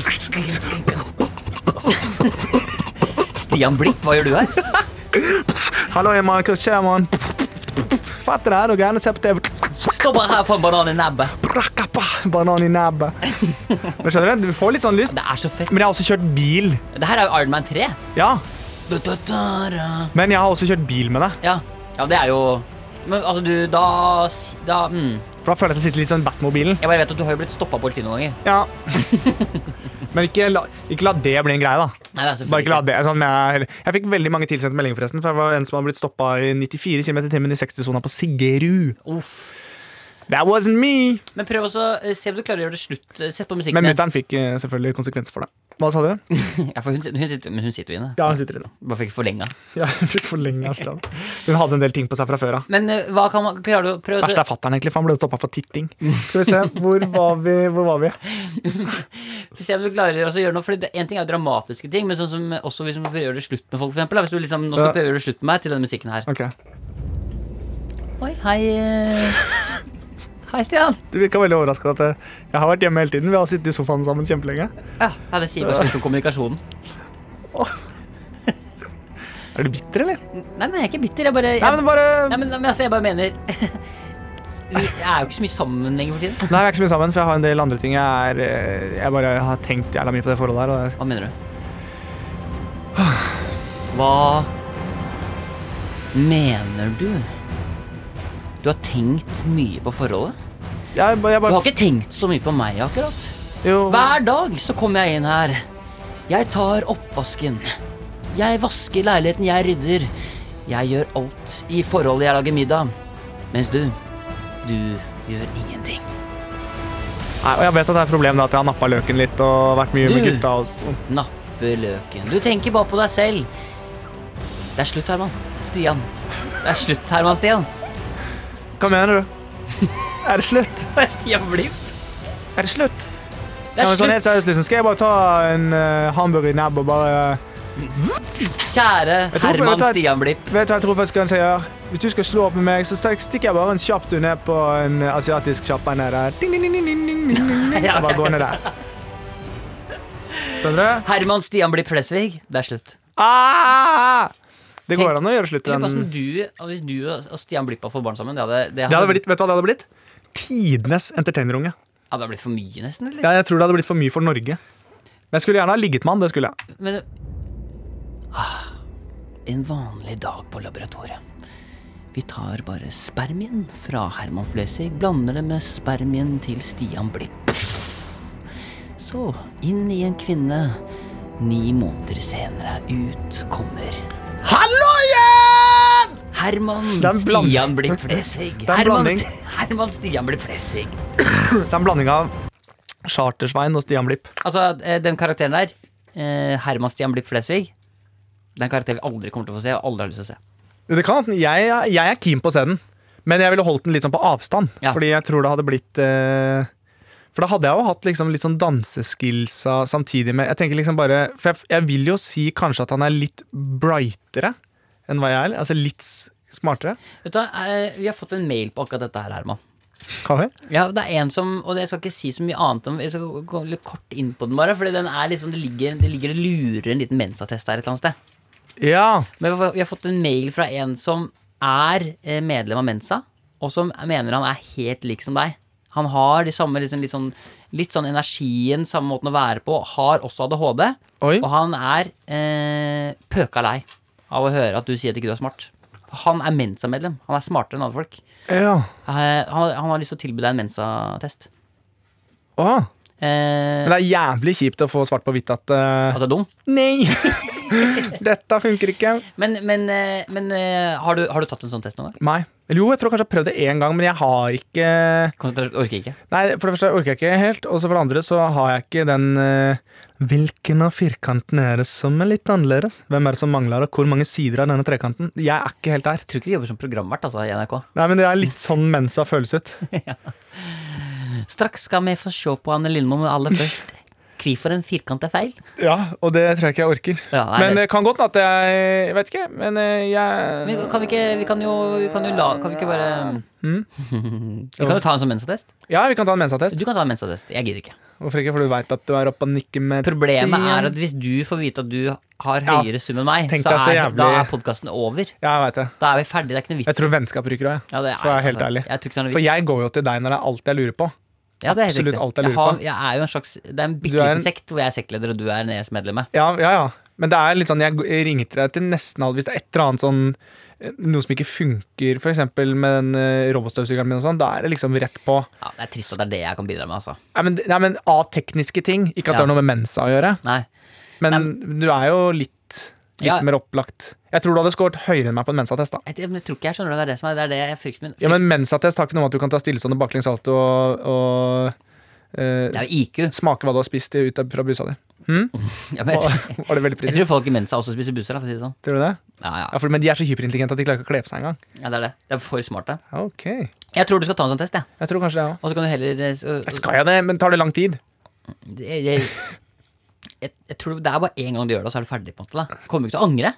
[SPEAKER 2] Stian Blipp, hva gjør du her?
[SPEAKER 3] Hallo, jeg er Markus Kjærmann. Fatter det her, og gjerne se på TV.
[SPEAKER 2] Stå bare her for en banan i nebbet.
[SPEAKER 3] Brakappa, Banan i nebbet. Men skjønner du, du får litt sånn lyst.
[SPEAKER 2] Det er så fett.
[SPEAKER 3] Men jeg har også kjørt bil.
[SPEAKER 2] Det her er jo Iron Man 3.
[SPEAKER 3] Ja,
[SPEAKER 2] Da, da, da, da.
[SPEAKER 3] men jeg har også kjørt bil med deg.
[SPEAKER 2] Ja. ja, det er jo Men altså, du, da, s- da mm.
[SPEAKER 3] For da føler jeg at jeg sitter litt sånn i Batmobilen.
[SPEAKER 2] Jeg bare vet at du har jo blitt stoppa av politiet noen ganger.
[SPEAKER 3] Ja. Men ikke la, ikke la det bli en greie, da.
[SPEAKER 2] Nei, det er
[SPEAKER 3] Bare ikke la
[SPEAKER 2] selvfølgelig
[SPEAKER 3] det, sånn, jeg, jeg fikk veldig mange tilsendte meldinger, forresten. For jeg var en som hadde blitt stoppa i 94 km i timen i 60-sona på Siggerud.
[SPEAKER 2] ikke. Uff.
[SPEAKER 3] That wasn't me!
[SPEAKER 2] Men prøv også eh, se om du klarer å gjøre det slutt. Eh, Sett på musikken.
[SPEAKER 3] Men
[SPEAKER 2] igjen.
[SPEAKER 3] mutter'n fikk eh, selvfølgelig konsekvenser for det. Hva sa du?
[SPEAKER 2] Ja, for hun, sit- hun, sitter, men hun sitter jo inne.
[SPEAKER 3] Ja, hun sitter inne.
[SPEAKER 2] Bare fikk forlenga.
[SPEAKER 3] Ja, hun fikk forlenga straff. Hun hadde en del ting på seg fra før av.
[SPEAKER 2] Men eh, hva kan man Klarer du å prøve
[SPEAKER 3] Verst
[SPEAKER 2] å
[SPEAKER 3] er fatter'n, egentlig, for han ble stoppa for titting. Skal vi se, hvor var vi? Hvor var vi?
[SPEAKER 2] se om du klarer også å gjøre noe? For det- en ting er jo dramatiske ting, men sånn som eh, også hvis man prøver å gjøre det slutt med folk, for eksempel. da. Hvis du liksom Nå skal
[SPEAKER 3] Ja.
[SPEAKER 2] jeg prøve å gjøre det slutt med meg til denne musikken her.
[SPEAKER 3] Ok.
[SPEAKER 2] Oi, hei. eh. Hei, Stian.
[SPEAKER 3] Du virka veldig overraska at eh, jeg har vært hjemme hele tiden. Vi har sittet i sofaen sammen kjempelenge.
[SPEAKER 2] Ja, ja, det sier bare slutt om kommunikasjonen.
[SPEAKER 3] Er du bitter, eller?
[SPEAKER 2] Nei, men jeg er ikke bitter. Jeg bare jeg,
[SPEAKER 3] Nei, men bare
[SPEAKER 2] Nei, men, men altså, jeg bare mener Vi er jo ikke så mye sammen lenger for tiden.
[SPEAKER 3] Nei, vi er ikke så mye sammen, for jeg har en del andre ting jeg er eh, Jeg bare har tenkt jævla mye på det forholdet her. Og det-
[SPEAKER 2] Hva mener du? Hva mener du? Du har tenkt mye på forholdet?
[SPEAKER 3] jeg, bare- jeg
[SPEAKER 2] Du
[SPEAKER 3] bare
[SPEAKER 2] har ikke tenkt så mye på meg akkurat.
[SPEAKER 3] Jo.
[SPEAKER 2] Hver dag så kommer jeg inn her. Jeg tar oppvasken. Jeg vasker leiligheten, jeg rydder. Jeg gjør alt i forholdet jeg lager middag. Mens du, du gjør ingenting.
[SPEAKER 3] Nei, og jeg vet at det er et problem da, at jeg har nappa løken litt og vært mye med
[SPEAKER 2] Du.
[SPEAKER 3] gutta. Og sånn.
[SPEAKER 2] Nappe løken. Du tenker bare på deg selv. Det er slutt, Herman. Stian. Det er slutt, Herman Stian.
[SPEAKER 3] Hva mener du? Er det slutt?
[SPEAKER 2] Det er Stian Blipp.
[SPEAKER 3] Er det slutt?
[SPEAKER 2] Det
[SPEAKER 3] Ja, men sånn
[SPEAKER 2] er
[SPEAKER 3] helt seriøst,
[SPEAKER 2] slutt.
[SPEAKER 3] liksom. Skal jeg bare ta en eh, hamburger i nebb og bare
[SPEAKER 2] Kjære
[SPEAKER 3] Jeg tror- vet
[SPEAKER 2] Herman
[SPEAKER 3] du hva-
[SPEAKER 2] Stian Blipp.
[SPEAKER 3] Vet du hva jeg tror faktisk han sier? Hvis du skal slå opp med meg, så stek- stikker jeg bare en kjapp tur ned på en asiatisk sjappa ned der. Ding, ding, ding, ding, ding, ding, ding, ding, ding. Og bare gå ned der. Skjønner du?
[SPEAKER 2] Herman Stian Blipp Flesvig. Det er slutt.
[SPEAKER 3] Ah! Det
[SPEAKER 2] Tenk-
[SPEAKER 3] går an å gjøre slutt.
[SPEAKER 2] Tenk hvordan
[SPEAKER 3] Den.
[SPEAKER 2] du, og Hvis du og Stian Blipp hadde fått barn sammen, det hadde, det
[SPEAKER 3] Det hadde blitt, vet du hva det hadde blitt? Tidenes entertainerunge.
[SPEAKER 2] Ja, det hadde blitt for mye, nesten. eller?
[SPEAKER 3] Ja, jeg tror det hadde blitt for mye for Norge. Men jeg skulle gjerne ha ligget med han. det skulle jeg.
[SPEAKER 2] Men Ah, En vanlig dag på laboratoriet. Vi tar bare spermien fra Herman Flesvig, blander det med spermien til Stian Blipp. Så inn i en kvinne. Ni måneder senere ut kommer Halloien! Herman
[SPEAKER 3] Det er en blanding.
[SPEAKER 2] Stian Blipp Flesvig.
[SPEAKER 3] er en
[SPEAKER 2] Herman,
[SPEAKER 3] blanding.
[SPEAKER 2] Sti- Herman Stian Blipp Flesvig.
[SPEAKER 3] Det er en blanding av Chartersvein og Stian Blipp.
[SPEAKER 2] Altså, eh, den karakteren der, eh, Herman Stian Blipp Flesvig, det er en karakter vi aldri kommer til å få se. og aldri har lyst til å se.
[SPEAKER 3] Det kan, hende- jeg, jeg er keen på å se den, men jeg ville holdt den litt sånn på avstand.
[SPEAKER 2] Ja.
[SPEAKER 3] Fordi jeg tror det hadde blitt eh, For da hadde jeg jo hatt liksom litt sånn danseskillsa samtidig med Jeg tenker liksom bare For jeg, jeg vil jo si kanskje at han er litt brightere enn hva jeg er. Altså litt s- smartere.
[SPEAKER 2] Vet du, hva, eh, Vi har fått en mail på akkurat dette her, Herman.
[SPEAKER 3] Kaffe?
[SPEAKER 2] Ja, det er en som, og Jeg skal ikke si så mye annet om Jeg skal gå litt kort inn på den, bare. Fordi den er litt sånn, det ligger, det ligger det lurer en liten mensattest her et eller annet sted.
[SPEAKER 3] Ja.
[SPEAKER 2] Men vi har- vi har fått en mail fra en som er eh, medlem av Mensa, og som mener han er helt lik som deg. Han har de samme liksom, litt, sånn, litt sånn energien, samme måten å være på. Har også ADHD.
[SPEAKER 3] Oi.
[SPEAKER 2] Og han er eh, pøka lei av å høre at du sier at ikke du er smart. Han er Mensa-medlem. Han er smartere enn andre folk.
[SPEAKER 3] Ja.
[SPEAKER 2] Eh, han, han har lyst til å tilby deg en Mensa-test.
[SPEAKER 3] Åh.
[SPEAKER 2] Eh,
[SPEAKER 3] Men det er jævlig kjipt å få svart på hvitt at eh,
[SPEAKER 2] at du er dum.
[SPEAKER 3] Nei! Dette funker ikke.
[SPEAKER 2] Men, men, eh, men eh, har, du, har du tatt en sånn test noen gang?
[SPEAKER 3] Nei. Eller jo, jeg tror kanskje jeg har prøvd det én gang, men jeg har ikke
[SPEAKER 2] Konsentrasjon orker ikke.
[SPEAKER 3] Nei, for det første orker jeg ikke helt, og så for det andre så har jeg ikke den eh, Hvilken av firkantene er det som er litt annerledes? Hvem er det som mangler, og hvor mange sider av denne trekanten? Jeg er ikke helt der.
[SPEAKER 2] Jeg tror ikke du jobber som programvert altså, i NRK.
[SPEAKER 3] Nei, men det er litt sånn mensa føles ut.
[SPEAKER 2] Straks skal vi få se på Anne Lindmo, men aller først Hvorfor en firkant er feil?
[SPEAKER 3] Ja, og det tror jeg ikke jeg orker.
[SPEAKER 2] Ja, nei,
[SPEAKER 3] men
[SPEAKER 2] det-
[SPEAKER 3] det kan godt hende at jeg Jeg vet ikke, men eh, jeg
[SPEAKER 2] Men kan vi ikke Vi kan jo, vi kan jo la Kan vi ikke bare
[SPEAKER 3] Mm.
[SPEAKER 2] Vi kan jo ta en sånn mensatest.
[SPEAKER 3] Ja, vi kan ta en mensatest.
[SPEAKER 2] Du kan ta en mensatest. Jeg gidder ikke.
[SPEAKER 3] Hvorfor ikke? For du veit at du er oppe og nikker med
[SPEAKER 2] Problemet
[SPEAKER 3] Ja,
[SPEAKER 2] er at hvis du får vite at du har
[SPEAKER 3] Ja.
[SPEAKER 2] høyere sum enn meg,
[SPEAKER 3] Tenk
[SPEAKER 2] så
[SPEAKER 3] deg så
[SPEAKER 2] er,
[SPEAKER 3] jævlig-
[SPEAKER 2] da er podkasten over.
[SPEAKER 3] jeg veit det.
[SPEAKER 2] Da er vi ferdige. Det er ikke noe vits.
[SPEAKER 3] Jeg tror vennskap ryker òg, jeg.
[SPEAKER 2] Ja, det
[SPEAKER 3] For å være helt
[SPEAKER 2] altså,
[SPEAKER 3] ærlig.
[SPEAKER 2] Jeg tror ikke det er noe
[SPEAKER 3] For
[SPEAKER 2] vits.
[SPEAKER 3] jeg går jo til deg når det er alt jeg lurer på.
[SPEAKER 2] ja, det er helt
[SPEAKER 3] absolutt
[SPEAKER 2] riktig.
[SPEAKER 3] alt jeg lurer
[SPEAKER 2] har,
[SPEAKER 3] på.
[SPEAKER 2] Jeg er jo en slags Det er en bitte
[SPEAKER 3] Du er
[SPEAKER 2] liten
[SPEAKER 3] en-
[SPEAKER 2] sekt hvor jeg er sektleder, og du er NES-medlemmet.
[SPEAKER 3] Ja, ja, ja. Men det er litt sånn, jeg g- jeg ringer til deg til nesten alt hvis det er et eller annet sånn eh, noe som ikke funker, f.eks. med den eh, robotstøvsugeren min og sånn. Da er det liksom rett på.
[SPEAKER 2] Ja, det er trist at det er det jeg kan bidra med, altså.
[SPEAKER 3] Nei, men, nei, men A, tekniske ting. Ikke at
[SPEAKER 2] Ja.
[SPEAKER 3] det har noe med mensa å gjøre.
[SPEAKER 2] Nei.
[SPEAKER 3] Men
[SPEAKER 2] Nei,
[SPEAKER 3] du er jo litt, litt
[SPEAKER 2] Ja.
[SPEAKER 3] mer opplagt. Jeg tror du hadde skåret høyere enn meg på en mensatest. da
[SPEAKER 2] Jeg, jeg, jeg tror ikke jeg skjønner det. Det er det som er, det er det jeg frykter min.
[SPEAKER 3] Ja, Men mensatest har ikke noe med at du kan ta stillestående baklengs salto og, og eh,
[SPEAKER 2] det er jo IQ.
[SPEAKER 3] smake hva du har spist i- ut av- fra busa di.
[SPEAKER 2] Ja, men jeg, tror-
[SPEAKER 3] Var det veldig
[SPEAKER 2] jeg
[SPEAKER 3] presist?
[SPEAKER 2] tror folk i Mensa også spiser busser, da, for å si det sånn.
[SPEAKER 3] Tror du det?
[SPEAKER 2] Ja, ja.
[SPEAKER 3] Ja, for, men de er så hyperintelligente at de klarer ikke å kle på seg engang.
[SPEAKER 2] ja det er det. Det er for smarte.
[SPEAKER 3] Ok, jeg
[SPEAKER 2] Jeg tror du skal ta en sånn test, jeg. Ja.
[SPEAKER 3] tror kanskje det òg.
[SPEAKER 2] Og så kan du heller eh, så-
[SPEAKER 3] Skal jeg det? Men tar det lang tid?
[SPEAKER 2] jeg, jeg, jeg, jeg tror Det er bare én gang du gjør det, og så er du ferdig. på en måte da. Kommer du ikke til å angre.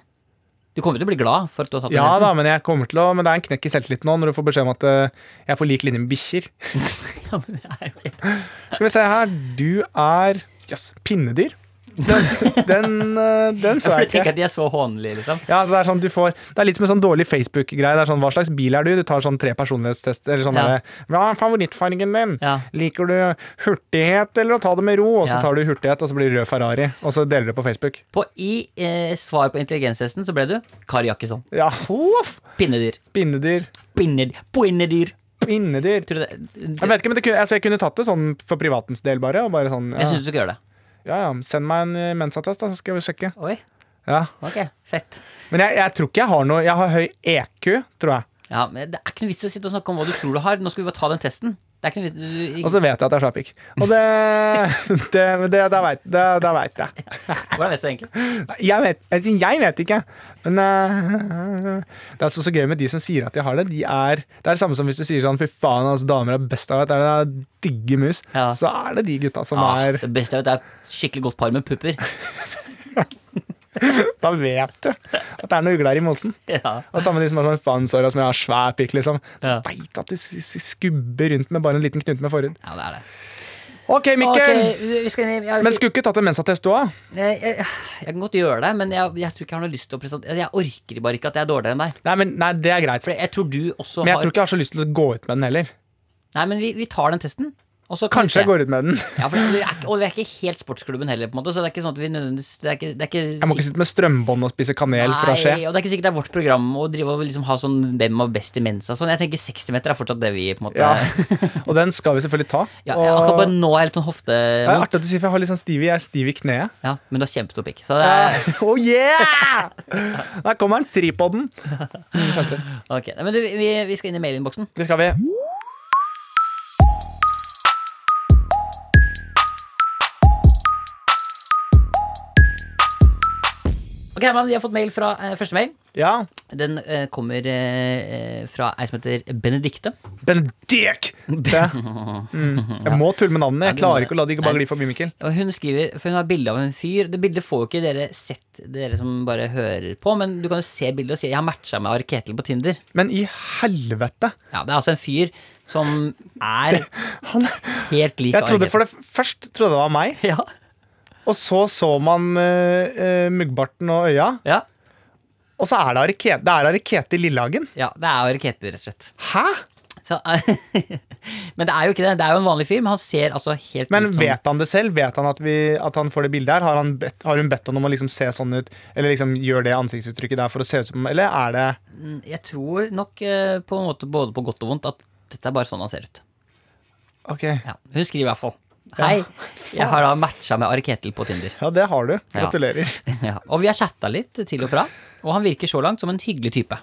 [SPEAKER 2] Du kommer til å bli glad for at du har tatt den
[SPEAKER 3] Ja
[SPEAKER 2] testen.
[SPEAKER 3] da, men jeg kommer til å Men det er en knekk i selvtilliten nå når du får beskjed om at eh, jeg er på lik linje med bikkjer.
[SPEAKER 2] Ja, men det er jo ikke-
[SPEAKER 3] Skal vi se her. Du er Jøss, pinnedyr? Den, den, eh, den så
[SPEAKER 2] For
[SPEAKER 3] jeg
[SPEAKER 2] jeg tenker
[SPEAKER 3] ikke.
[SPEAKER 2] at de er så hånlige, liksom.
[SPEAKER 3] Ja, det er sånn du får Det er litt som en sånn dårlig Facebook-greie. Det er sånn, Hva slags bil er du? Du tar sånn tre personlighetstester. Eller sånn
[SPEAKER 2] Ja.
[SPEAKER 3] derre, Hva er favorittfargen din?
[SPEAKER 2] Ja.
[SPEAKER 3] Liker du hurtighet eller å ta det med ro? Og så
[SPEAKER 2] Ja.
[SPEAKER 3] tar du hurtighet, og så blir det rød Ferrari. Og så deler du på Facebook.
[SPEAKER 2] På, I eh, svar på intelligenstesten så ble du Kari Jakkesson.
[SPEAKER 3] Ja, hoff!
[SPEAKER 2] Pinnedyr.
[SPEAKER 3] Pinnedyr.
[SPEAKER 2] Pinnedyr. Pinnedyr.
[SPEAKER 3] Pinnedyr.
[SPEAKER 2] Tror du det?
[SPEAKER 3] Jeg vet ikke, men det kunne, altså, jeg kunne tatt det sånn for privatens del, bare. Og bare sånn, ja,
[SPEAKER 2] Jeg syns du skal gjøre det.
[SPEAKER 3] ja, ja, Send meg en eh, mensattest, da, så skal vi sjekke.
[SPEAKER 2] Oi,
[SPEAKER 3] Ja.
[SPEAKER 2] ok, fett.
[SPEAKER 3] Men jeg, jeg tror ikke jeg har noe Jeg har høy EQ, tror jeg.
[SPEAKER 2] Ja, men Det er ikke noe vits i å sitte og snakke om hva du tror du har. Nå skal vi bare ta den testen. Det er ikke noe vits du,
[SPEAKER 3] Og så vet jeg at jeg er slapik. Og det Det, det, det veit det, det vet jeg.
[SPEAKER 2] Hvordan vet du det egentlig?
[SPEAKER 3] Jeg vet, altså, jeg vet ikke. Men eh, det er så, så gøy med de som sier at de har det. De er, det er det samme som hvis du sier sånn fy faen, altså, damer er best av at det er digge mus.
[SPEAKER 2] Ja.
[SPEAKER 3] Så er det de gutta som
[SPEAKER 2] Ah,
[SPEAKER 3] er
[SPEAKER 2] det beste er at det er et skikkelig godt par med pupper.
[SPEAKER 3] Da vet du at det er noen ugler i mosen.
[SPEAKER 2] Ja.
[SPEAKER 3] Og samme de som er sånn faen, sorry, som jeg har svær pikk, liksom.
[SPEAKER 2] Ja.
[SPEAKER 3] Veit at du s- s- skubber rundt med bare en liten knute med forhud.
[SPEAKER 2] ja, det er det.
[SPEAKER 3] Ok, Mikkel!
[SPEAKER 2] Ok, vi skal, jeg,
[SPEAKER 3] Men skulle ikke tatt en mensattest du òg?
[SPEAKER 2] jeg, jeg, jeg kan godt gjøre det, men jeg, jeg tror ikke jeg har noe lyst til å presentere Jeg orker bare ikke at jeg er dårligere enn deg.
[SPEAKER 3] Nei, men nei, det er greit.
[SPEAKER 2] For jeg tror du også
[SPEAKER 3] Men jeg
[SPEAKER 2] har
[SPEAKER 3] tror ikke jeg har så lyst til å gå ut med den heller.
[SPEAKER 2] Nei, men vi, vi tar den testen. Og så kan vi
[SPEAKER 3] Kanskje jeg
[SPEAKER 2] se.
[SPEAKER 3] går ut med den.
[SPEAKER 2] ja, for vi er, ikke- Og vi er ikke helt sportsklubben heller, på en måte, så det er ikke sånn at vi nødvendigvis Det er ikke, det er ikke
[SPEAKER 3] Jeg må ikke sitte med strømbånd og spise kanel fra
[SPEAKER 2] Nei,
[SPEAKER 3] skje.
[SPEAKER 2] og det er ikke sikkert det er vårt program å drive og liksom ha sånn hvem var best i mensa. Sånn, jeg tenker 60 meter er fortsatt det vi på en måte
[SPEAKER 3] Ja. Og den skal vi selvfølgelig ta.
[SPEAKER 2] Ja, jeg, akkurat
[SPEAKER 3] Og
[SPEAKER 2] bare nå er jeg litt sånn hofte
[SPEAKER 3] det er artig at du sier, for jeg har litt sånn stiv i, jeg er stiv i kneet.
[SPEAKER 2] ja, Men du har kjempestor pikk. Så det er,
[SPEAKER 3] Oh yeah! Der kommer den, tripoden.
[SPEAKER 2] ok. Nei, Men du, vi, vi skal inn i mailinnboksen.
[SPEAKER 3] Det skal vi.
[SPEAKER 2] Ok, Herman, Vi har fått mail fra eh, første mail.
[SPEAKER 3] Ja.
[SPEAKER 2] Den eh, kommer eh, eh, fra ei som heter Benedicte.
[SPEAKER 3] Benedikt! Det. Mm. Jeg må tulle med navnet. Jeg klarer ikke å la det ikke bare gli forbi, Mikkel.
[SPEAKER 2] Og hun skriver, for hun har bilde av en fyr. Det bildet får jo ikke dere sett, dere som bare hører på, men du kan jo se bildet og si 'jeg har matcha med Ari Ketil på Tinder'.
[SPEAKER 3] Men i helvete!
[SPEAKER 2] Ja, Det er altså en fyr som er
[SPEAKER 3] Han,
[SPEAKER 2] helt lik
[SPEAKER 3] jeg trodde
[SPEAKER 2] Ari
[SPEAKER 3] for det Først trodde jeg det var meg,
[SPEAKER 2] Ketil. Ja,
[SPEAKER 3] og så så man eh, eh, muggbarten og øya,
[SPEAKER 2] ja,
[SPEAKER 3] og så er det Ari Ke- det er Ari Ketil Lillehagen.
[SPEAKER 2] ja, det er Ari Ketil, rett og slett.
[SPEAKER 3] Hæ?!
[SPEAKER 2] Så, Men det er jo ikke det. Det er jo en vanlig fyr, men han ser altså helt
[SPEAKER 3] Men
[SPEAKER 2] ut som
[SPEAKER 3] vet han det selv? Vet han at, vi, at han får det bildet her? Har, han bedt, har hun bedt han om å liksom se sånn ut? Eller liksom gjør det ansiktsuttrykket der for å se ut som Eller er det
[SPEAKER 2] Jeg tror nok eh, på en måte både på godt og vondt at dette er bare sånn han ser ut.
[SPEAKER 3] Ok.
[SPEAKER 2] Ja, Hun skriver i hvert fall. Hei, jeg har da matcha med Ari Ketil på Tinder.
[SPEAKER 3] Ja, det har du.
[SPEAKER 2] Ja.
[SPEAKER 3] Gratulerer.
[SPEAKER 2] Ja, og vi har chatta litt til og fra, og han virker så langt som en hyggelig type.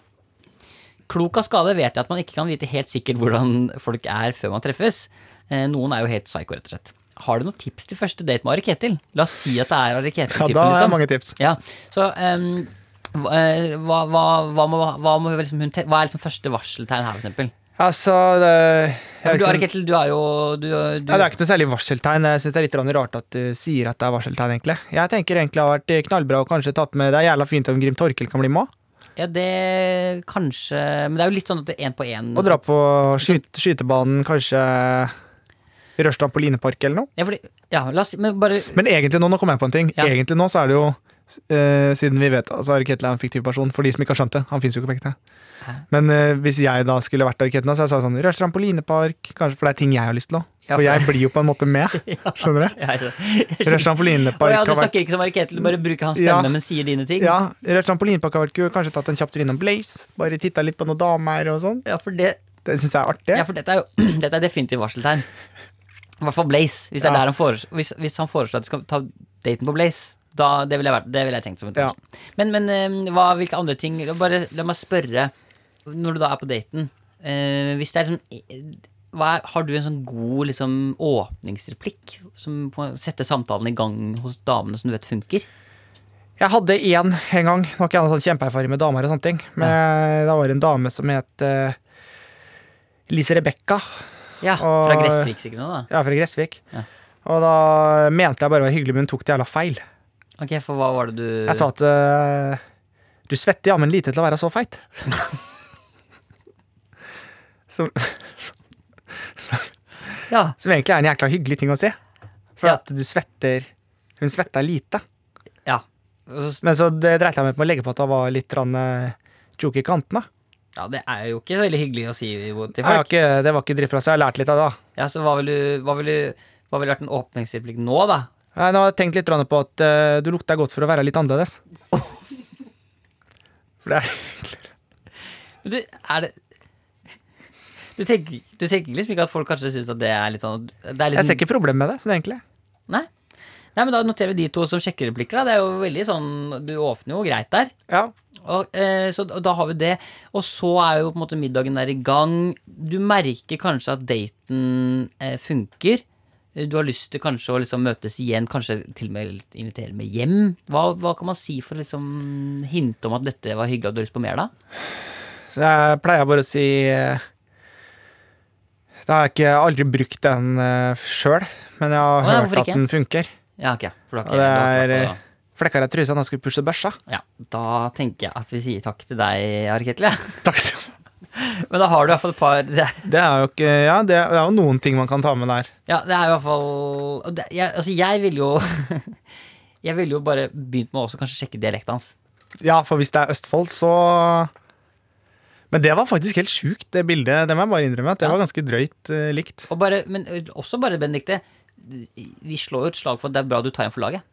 [SPEAKER 2] Klok av skade vet jeg at man ikke kan vite helt sikkert hvordan folk er før man treffes. Eh, Noen er jo helt psycho, rett og slett. Har du noen tips til første date med Ari Ketil? La oss si at det er Ari
[SPEAKER 3] Ja,
[SPEAKER 2] Ketil-typen,
[SPEAKER 3] da har jeg
[SPEAKER 2] liksom.
[SPEAKER 3] mange tips.
[SPEAKER 2] Ja, så ehm, hva, eh, hva, hva, hva, må, hva, må liksom hun te hva er liksom første varseltegn her, for eksempel?
[SPEAKER 3] Altså det, jeg
[SPEAKER 2] For du,
[SPEAKER 3] vet
[SPEAKER 2] Ari
[SPEAKER 3] ikke-
[SPEAKER 2] Ketil, du er jo du, du,
[SPEAKER 3] ja, det er ikke noe særlig varseltegn. Jeg synes det er litt grann rart at du sier at det er varseltegn, egentlig. Jeg tenker egentlig det har vært eh, knallbra å kanskje tatt med Det er jævla fint om Grim Torkel kan bli med òg.
[SPEAKER 2] Ja, det kanskje Men det er jo litt sånn at det er én på én.
[SPEAKER 3] Og dra på skyt, skytebanen, kanskje Rørsdal på Linepark eller noe.
[SPEAKER 2] Ja, fordi, ja, la oss Men bare
[SPEAKER 3] Men egentlig nå, nå kom jeg på en ting.
[SPEAKER 2] Ja.
[SPEAKER 3] Egentlig nå så er det jo eh, siden vi vet altså Ketil er en fiktiv person, for de som ikke har skjønt det. Han finnes jo ikke på ekte. Men eh, hvis jeg da skulle vært Arketina, så hadde jeg sagt sånn Rørstrand på Linepark, kanskje, for det er ting jeg har lyst til òg.
[SPEAKER 2] Ja,
[SPEAKER 3] for jeg blir jo på en måte med. Skjønner du?
[SPEAKER 2] Ja, jeg skjønner.
[SPEAKER 3] Rørstrand på
[SPEAKER 2] Å
[SPEAKER 3] Linepark
[SPEAKER 2] ja, du
[SPEAKER 3] har vært
[SPEAKER 2] snakker ikke som Ari Ketil, du bare bruker hans
[SPEAKER 3] Ja.
[SPEAKER 2] stemme, men sier dine ting?
[SPEAKER 3] ja, Rørstrand på Linepark har vært kul. Kanskje tatt en kjapp tur innom Blaze. Bare titta litt på noen damer og sånn.
[SPEAKER 2] Ja, for det
[SPEAKER 3] Det syns jeg er artig.
[SPEAKER 2] Ja, for dette er jo dette er definitivt varseltegn. I hvert fall Blaze. Hvis, det er
[SPEAKER 3] Ja.
[SPEAKER 2] der han foreslår- hvis, hvis han foreslår at du skal ta daten på Blaze, da, det ville jeg, vært- det ville jeg tenkt som en
[SPEAKER 3] Ja.
[SPEAKER 2] varsel. Men, men eh, hva, hvilke andre ting Bare la meg spørre, når du da er på daten eh, Hvis det er sånn hva er, Har du en sånn god liksom, åpningsreplikk som på, setter samtalen i gang hos damene, som du vet funker?
[SPEAKER 3] Jeg hadde én en gang. Nå har ikke jeg noe sånn kjempeerfaring med damer. og sånne ting Men da var det en dame som het eh, Lise Rebekka.
[SPEAKER 2] Ja, Fra
[SPEAKER 3] Og-
[SPEAKER 2] Gressvik, sikkert nå, da.
[SPEAKER 3] Ja, fra Gressvik.
[SPEAKER 2] Ja.
[SPEAKER 3] Og da mente jeg bare var hyggelig, men hun tok det jævla feil.
[SPEAKER 2] Ok, For hva var det du
[SPEAKER 3] Jeg sa at eh, du svetter jammen lite til å være så feit. som,
[SPEAKER 2] Ja,
[SPEAKER 3] som egentlig er en jækla hyggelig ting å si. For
[SPEAKER 2] Ja.
[SPEAKER 3] at du svetter Hun svetta lite.
[SPEAKER 2] ja. Og så-
[SPEAKER 3] Men så det dreit jeg meg ut med å legge på at hun var litt rann, eh, tjukk i kantene.
[SPEAKER 2] ja, det er jo ikke så veldig hyggelig å si til folk.
[SPEAKER 3] Jeg har ikke, det var ikke dritbra, så jeg har lært litt av det. da.
[SPEAKER 2] Ja, så hva ville hva vil du- hva ville vært en åpningsreplikk nå, da?
[SPEAKER 3] Nei, nå har jeg tenkt litt grann på at eh, du lukter godt for å være litt annerledes. For det er
[SPEAKER 2] Men Du, er det du tenker, du tenker liksom ikke at folk kanskje syns at det er litt sånn det er litt
[SPEAKER 3] Jeg ser
[SPEAKER 2] sånn-
[SPEAKER 3] ikke problemet med det, sånn egentlig.
[SPEAKER 2] Nei? Nei, men da noterer vi de to som sjekker replikker, da. Det er jo veldig sånn Du åpner jo greit der.
[SPEAKER 3] Ja.
[SPEAKER 2] Og, eh, så da- da har vi det. Og så er jo på en måte middagen der i gang. Du merker kanskje at daten eh, funker. Eh, Du har lyst til kanskje å liksom møtes igjen, kanskje til og med invitere med hjem. Hva, hva kan man si for å liksom hinte om at dette var hyggelig, og du har lyst på mer da?
[SPEAKER 3] Så jeg pleier bare å si eh, Da har jeg ikke aldri brukt den uh, sjøl, men jeg har
[SPEAKER 2] Å, nei,
[SPEAKER 3] hørt
[SPEAKER 2] hvorfor
[SPEAKER 3] at
[SPEAKER 2] ikke?
[SPEAKER 3] den funker.
[SPEAKER 2] Ja, ok. For du har ikke,
[SPEAKER 3] Og
[SPEAKER 2] du
[SPEAKER 3] det
[SPEAKER 2] har
[SPEAKER 3] er
[SPEAKER 2] ikke vært
[SPEAKER 3] eh,
[SPEAKER 2] på-
[SPEAKER 3] flekker av trusa når jeg skulle pushe børsa.
[SPEAKER 2] ja, Da tenker jeg at vi sier takk til deg, Ari Ketil. Ja.
[SPEAKER 3] Takk.
[SPEAKER 2] Men da har du i hvert fall et par det er-
[SPEAKER 3] Det er jo ikke Ja, det er, det er jo noen ting man kan ta med der.
[SPEAKER 2] Ja, det er i hvert fall og det, jeg, Altså, jeg ville jo Jeg ville jo bare begynt med å også kanskje sjekke dialekten hans.
[SPEAKER 3] Ja, for hvis det er Østfold, så Men det var faktisk helt sjukt, det bildet. Det må jeg bare innrømme. At det
[SPEAKER 2] Ja.
[SPEAKER 3] var ganske drøyt eh, likt.
[SPEAKER 2] Og bare, men også bare, Benedikte, vi slår jo et slag for at det er bra du tar en for laget.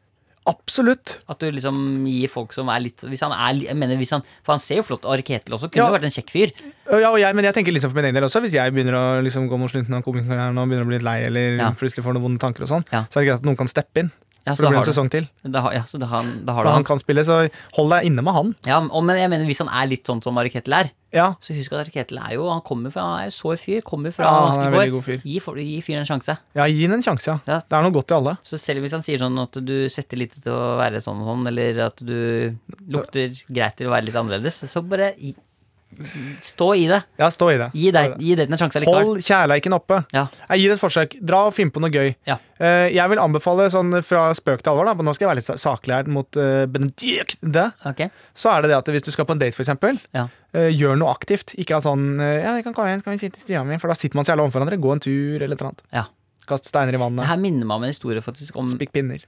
[SPEAKER 3] Absolutt.
[SPEAKER 2] At du liksom gir folk som er litt Hvis han er li- jeg mener, hvis han, For han ser jo flott ut. Ari Ketil også kunne
[SPEAKER 3] Ja.
[SPEAKER 2] jo vært en kjekk fyr.
[SPEAKER 3] Og Ja, og jeg, men jeg tenker liksom for min egen del også Hvis jeg begynner å liksom gå mot slutten av komikerkarrieren og begynner å bli litt lei, eller
[SPEAKER 2] Ja.
[SPEAKER 3] plutselig får noen vonde tanker, og sånn
[SPEAKER 2] Ja.
[SPEAKER 3] så er det greit at noen kan steppe inn.
[SPEAKER 2] Ja, så
[SPEAKER 3] For det blir
[SPEAKER 2] har
[SPEAKER 3] en
[SPEAKER 2] du,
[SPEAKER 3] sesong til.
[SPEAKER 2] da, har- ja, så da, har- da har
[SPEAKER 3] Så
[SPEAKER 2] du
[SPEAKER 3] han
[SPEAKER 2] han.
[SPEAKER 3] kan spille, så hold deg inne med han.
[SPEAKER 2] Ja, og, men jeg mener, hvis han er litt sånn som Ari Ketil er,
[SPEAKER 3] Ja,
[SPEAKER 2] så husk at Ari Ketil er jo Han kommer fra, han er jo sår fyr. Kommer fra
[SPEAKER 3] Ja, han er en
[SPEAKER 2] Askegård.
[SPEAKER 3] veldig god fyr.
[SPEAKER 2] Gi, folk- gi fyren en sjanse.
[SPEAKER 3] ja Gi den en sjanse, ja.
[SPEAKER 2] Ja.
[SPEAKER 3] Det er noe godt i alle.
[SPEAKER 2] Så selv hvis han sier sånn at du svetter litt til å være sånn og sånn, eller at du lukter greit til å være litt annerledes, så bare i, stå i det.
[SPEAKER 3] Ja, stå i det.
[SPEAKER 2] Gi,
[SPEAKER 3] Stå i
[SPEAKER 2] deg, gi daten en sjanse likevel.
[SPEAKER 3] Hold kjærleiken oppe.
[SPEAKER 2] Ja.
[SPEAKER 3] Jeg gir det et forsøk. Dra og finn på noe gøy.
[SPEAKER 2] Ja.
[SPEAKER 3] Eh, jeg vil anbefale sånn fra spøk til alvor, da, men nå skal jeg være litt sa- saklig her mot uh, Benedicte.
[SPEAKER 2] Ok.
[SPEAKER 3] Så er det det at hvis du skal på en date, for eksempel,
[SPEAKER 2] Ja.
[SPEAKER 3] eh, gjør noe aktivt. Ikke ha sånn eh, Ja, vi kan komme igjen, skal vi sitte i stua mi? For da sitter man så jævla overfor hverandre. Gå en tur, eller et eller annet.
[SPEAKER 2] Ja.
[SPEAKER 3] Kast steiner i
[SPEAKER 2] Det
[SPEAKER 3] vannet.
[SPEAKER 2] her minner meg om en historie faktisk om
[SPEAKER 3] Spikk pinner.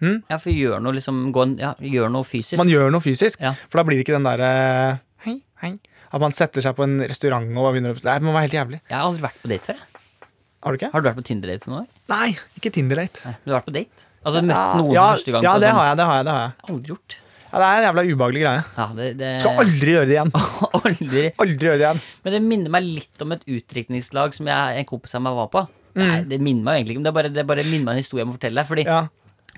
[SPEAKER 2] Ja, for gjør noe liksom gå en, ja, Gjør noe fysisk.
[SPEAKER 3] Man gjør noe fysisk,
[SPEAKER 2] Ja.
[SPEAKER 3] for da blir det ikke den derre Hei, hei. At man setter seg på en restaurant og begynner å Det må være helt jævlig.
[SPEAKER 2] Jeg har aldri vært på date før, jeg.
[SPEAKER 3] Har du ikke?
[SPEAKER 2] Har du vært på Tinder-date noen gang?
[SPEAKER 3] Nei, ikke Tinder-date.
[SPEAKER 2] Nei. Du har vært på date? Altså møtt noen
[SPEAKER 3] Ja,
[SPEAKER 2] for første gang?
[SPEAKER 3] ja,
[SPEAKER 2] på
[SPEAKER 3] det
[SPEAKER 2] sånn-
[SPEAKER 3] har jeg. det har jeg, det har jeg.
[SPEAKER 2] Aldri gjort.
[SPEAKER 3] Ja, det er en jævla ubehagelig greie.
[SPEAKER 2] Ja, det, det...
[SPEAKER 3] Skal aldri gjøre det igjen.
[SPEAKER 2] aldri.
[SPEAKER 3] Aldri gjøre det igjen.
[SPEAKER 2] Men det minner meg litt om et utdrikningslag som jeg, en kompis av meg var på.
[SPEAKER 3] Mm.
[SPEAKER 2] Nei, det minner meg jo egentlig ikke om det, er bare, det bare minner meg en historie jeg må fortelle deg. Fordi
[SPEAKER 3] Ja.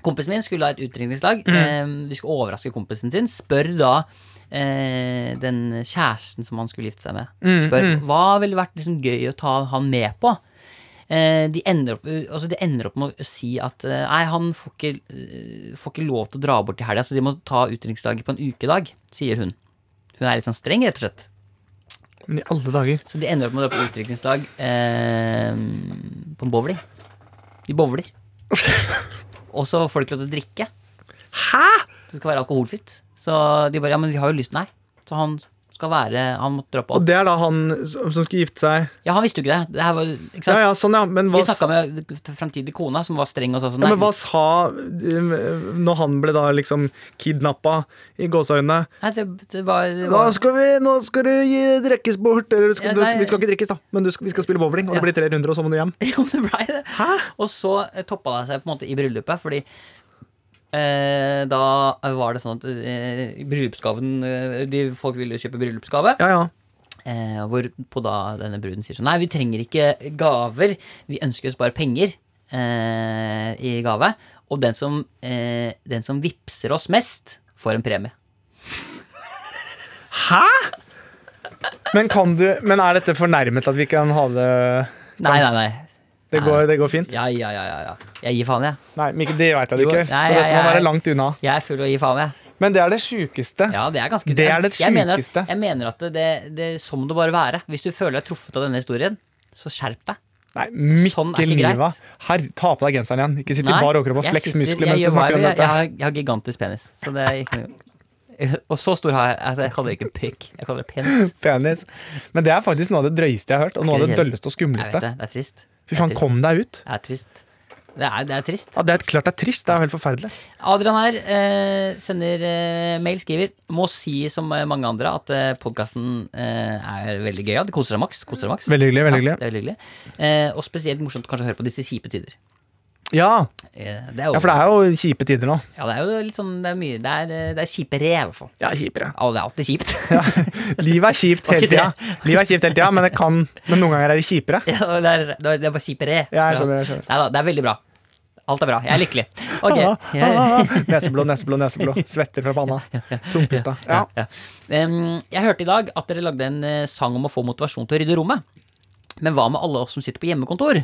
[SPEAKER 2] kompisen min skulle ha et utdrikningslag. Eh, de skulle overraske kompisen sin. Spør da eh, den kjæresten som han skulle gifte seg med, Spør hva ville vært liksom gøy å ta han med på. Eh, de, ender opp, altså de ender opp med å si at eh, nei, han får ikke, eh, får ikke lov til å dra bort i helga, så de må ta utdrikningslaget på en ukedag, sier hun. Hun er litt sånn streng, rett og slett.
[SPEAKER 3] Men i alle dager.
[SPEAKER 2] Så de ender opp med å dra på utdrikningslag eh, på en bowling. De bowler. Og så får de ikke lov til å drikke.
[SPEAKER 3] Hæ?!
[SPEAKER 2] Det skal være alkoholfritt. Så de bare Ja, men vi har jo lyst. Nei. Så han skal være Han måtte dra på
[SPEAKER 3] Og det er da han som som skulle gifte seg
[SPEAKER 2] Ja, han visste jo ikke det. Det her var Ikke sant?
[SPEAKER 3] Ja, ja, sånn, ja. Men hva,
[SPEAKER 2] Vi snakka med framtidig kona, som var streng og sa sånn.
[SPEAKER 3] ja,
[SPEAKER 2] Nei,
[SPEAKER 3] men hva sa eh, Når han ble da liksom kidnappa i gåseøynene
[SPEAKER 2] nei det, det var, det
[SPEAKER 3] Da
[SPEAKER 2] var
[SPEAKER 3] skal vi, nå skal du gi- drikkes bort Eller du skal,
[SPEAKER 2] Ja, nei.
[SPEAKER 3] vi skal ikke drikkes, da, men du skal, vi skal spille bowling, og det
[SPEAKER 2] Ja.
[SPEAKER 3] blir tre runder, og så må du hjem.
[SPEAKER 2] Jo, det blei det. Og så eh, toppa det seg på en måte i bryllupet, fordi eh, da var det sånn at eh, bryllupsgaven eh, de, Folk ville jo kjøpe bryllupsgave.
[SPEAKER 3] Ja, ja.
[SPEAKER 2] Eh, hvorpå da denne bruden sier sånn Nei, vi trenger ikke gaver. Vi ønsker oss bare penger eh, i gave. Og den som, eh, den som vippser oss mest, får en premie.
[SPEAKER 3] Hæ?! Men kan du Men er dette fornærmet at vi kan ha det
[SPEAKER 2] Nei, nei, nei.
[SPEAKER 3] Det går, det går fint?
[SPEAKER 2] Ja, ja, ja. ja, ja. Jeg gir faen, jeg.
[SPEAKER 3] Nei, Mikkel, det veit jeg du
[SPEAKER 2] Jo,
[SPEAKER 3] ikke.
[SPEAKER 2] nei,
[SPEAKER 3] Så dette
[SPEAKER 2] jeg-
[SPEAKER 3] må være
[SPEAKER 2] jeg-
[SPEAKER 3] langt unna.
[SPEAKER 2] Jeg er full og gir faen, jeg.
[SPEAKER 3] Men det er det sjukeste.
[SPEAKER 2] Ja, det er ganske
[SPEAKER 3] Det er det
[SPEAKER 2] jeg mener at-
[SPEAKER 3] sjukeste.
[SPEAKER 2] Jeg mener at det, det, det som det bare være. Hvis du føler deg truffet av denne historien, så skjerp deg.
[SPEAKER 3] Nei, Mikkel
[SPEAKER 2] Sånn er ikke
[SPEAKER 3] Niva.
[SPEAKER 2] greit.
[SPEAKER 3] Her, ta på deg genseren igjen. Ikke sitt i
[SPEAKER 2] Nei,
[SPEAKER 3] bar overkropp og
[SPEAKER 2] jeg
[SPEAKER 3] fleks
[SPEAKER 2] sitter-
[SPEAKER 3] muskler
[SPEAKER 2] jeg
[SPEAKER 3] mens
[SPEAKER 2] gjør hva
[SPEAKER 3] du snakker
[SPEAKER 2] jeg
[SPEAKER 3] om
[SPEAKER 2] vil.
[SPEAKER 3] dette.
[SPEAKER 2] Jeg, har- jeg har gigantisk penis, så det er ikke noe Og så stor har jeg altså, Jeg kaller det ikke pikk, jeg kaller det penis.
[SPEAKER 3] Penis. Men det er faktisk noe av det drøyeste jeg har hørt, og noe av det
[SPEAKER 2] ikke det
[SPEAKER 3] dølleste og
[SPEAKER 2] Jeg vet
[SPEAKER 3] skumleste.
[SPEAKER 2] det. Det er trist.
[SPEAKER 3] Fy faen, kom deg ut.
[SPEAKER 2] Det er trist. Det er, det er trist.
[SPEAKER 3] Ja, det er klart det er trist. Det er jo helt forferdelig.
[SPEAKER 2] Adrian her eh, sender eh, mail, skriver Må si som eh, mange andre at eh, podkasten eh, er veldig gøy. Ja, det koser deg maks. Koser deg maks.
[SPEAKER 3] Veldig hyggelig. veldig
[SPEAKER 2] Ja,
[SPEAKER 3] hyggelig.
[SPEAKER 2] det er veldig hyggelig. Eh, og spesielt morsomt kanskje å høre på disse kjipe tider.
[SPEAKER 3] Ja,
[SPEAKER 2] Eh, det er
[SPEAKER 3] ja,
[SPEAKER 2] jo,
[SPEAKER 3] for det er jo kjipe tider nå.
[SPEAKER 2] ja, det er jo litt sånn Det er mye Det er, eh, det er kjipe rev, i hvert fall.
[SPEAKER 3] Ja, kjipere.
[SPEAKER 2] Ja, det er alltid kjipt.
[SPEAKER 3] Livet er kjipt
[SPEAKER 2] Var
[SPEAKER 3] hele
[SPEAKER 2] ikke
[SPEAKER 3] tida. Livet er kjipt hele tida, men det kan Men noen ganger er det kjipere.
[SPEAKER 2] Ja, det, er, det er- det er bare kjipe re.
[SPEAKER 3] Ja, jeg skjønner, jeg skjønner.
[SPEAKER 2] Neida, det er veldig bra. Alt er bra. Jeg er lykkelig. Ok.
[SPEAKER 3] Ah,
[SPEAKER 2] Jeg,
[SPEAKER 3] ah, ah. Neseblå, neseblå, neseblå. Svetter fra panna. Tungpista. Ja.
[SPEAKER 2] ja. Em, jeg hørte i dag at dere lagde en eh, sang om å få motivasjon til å rydde rommet. Men hva med alle oss som sitter på hjemmekontor?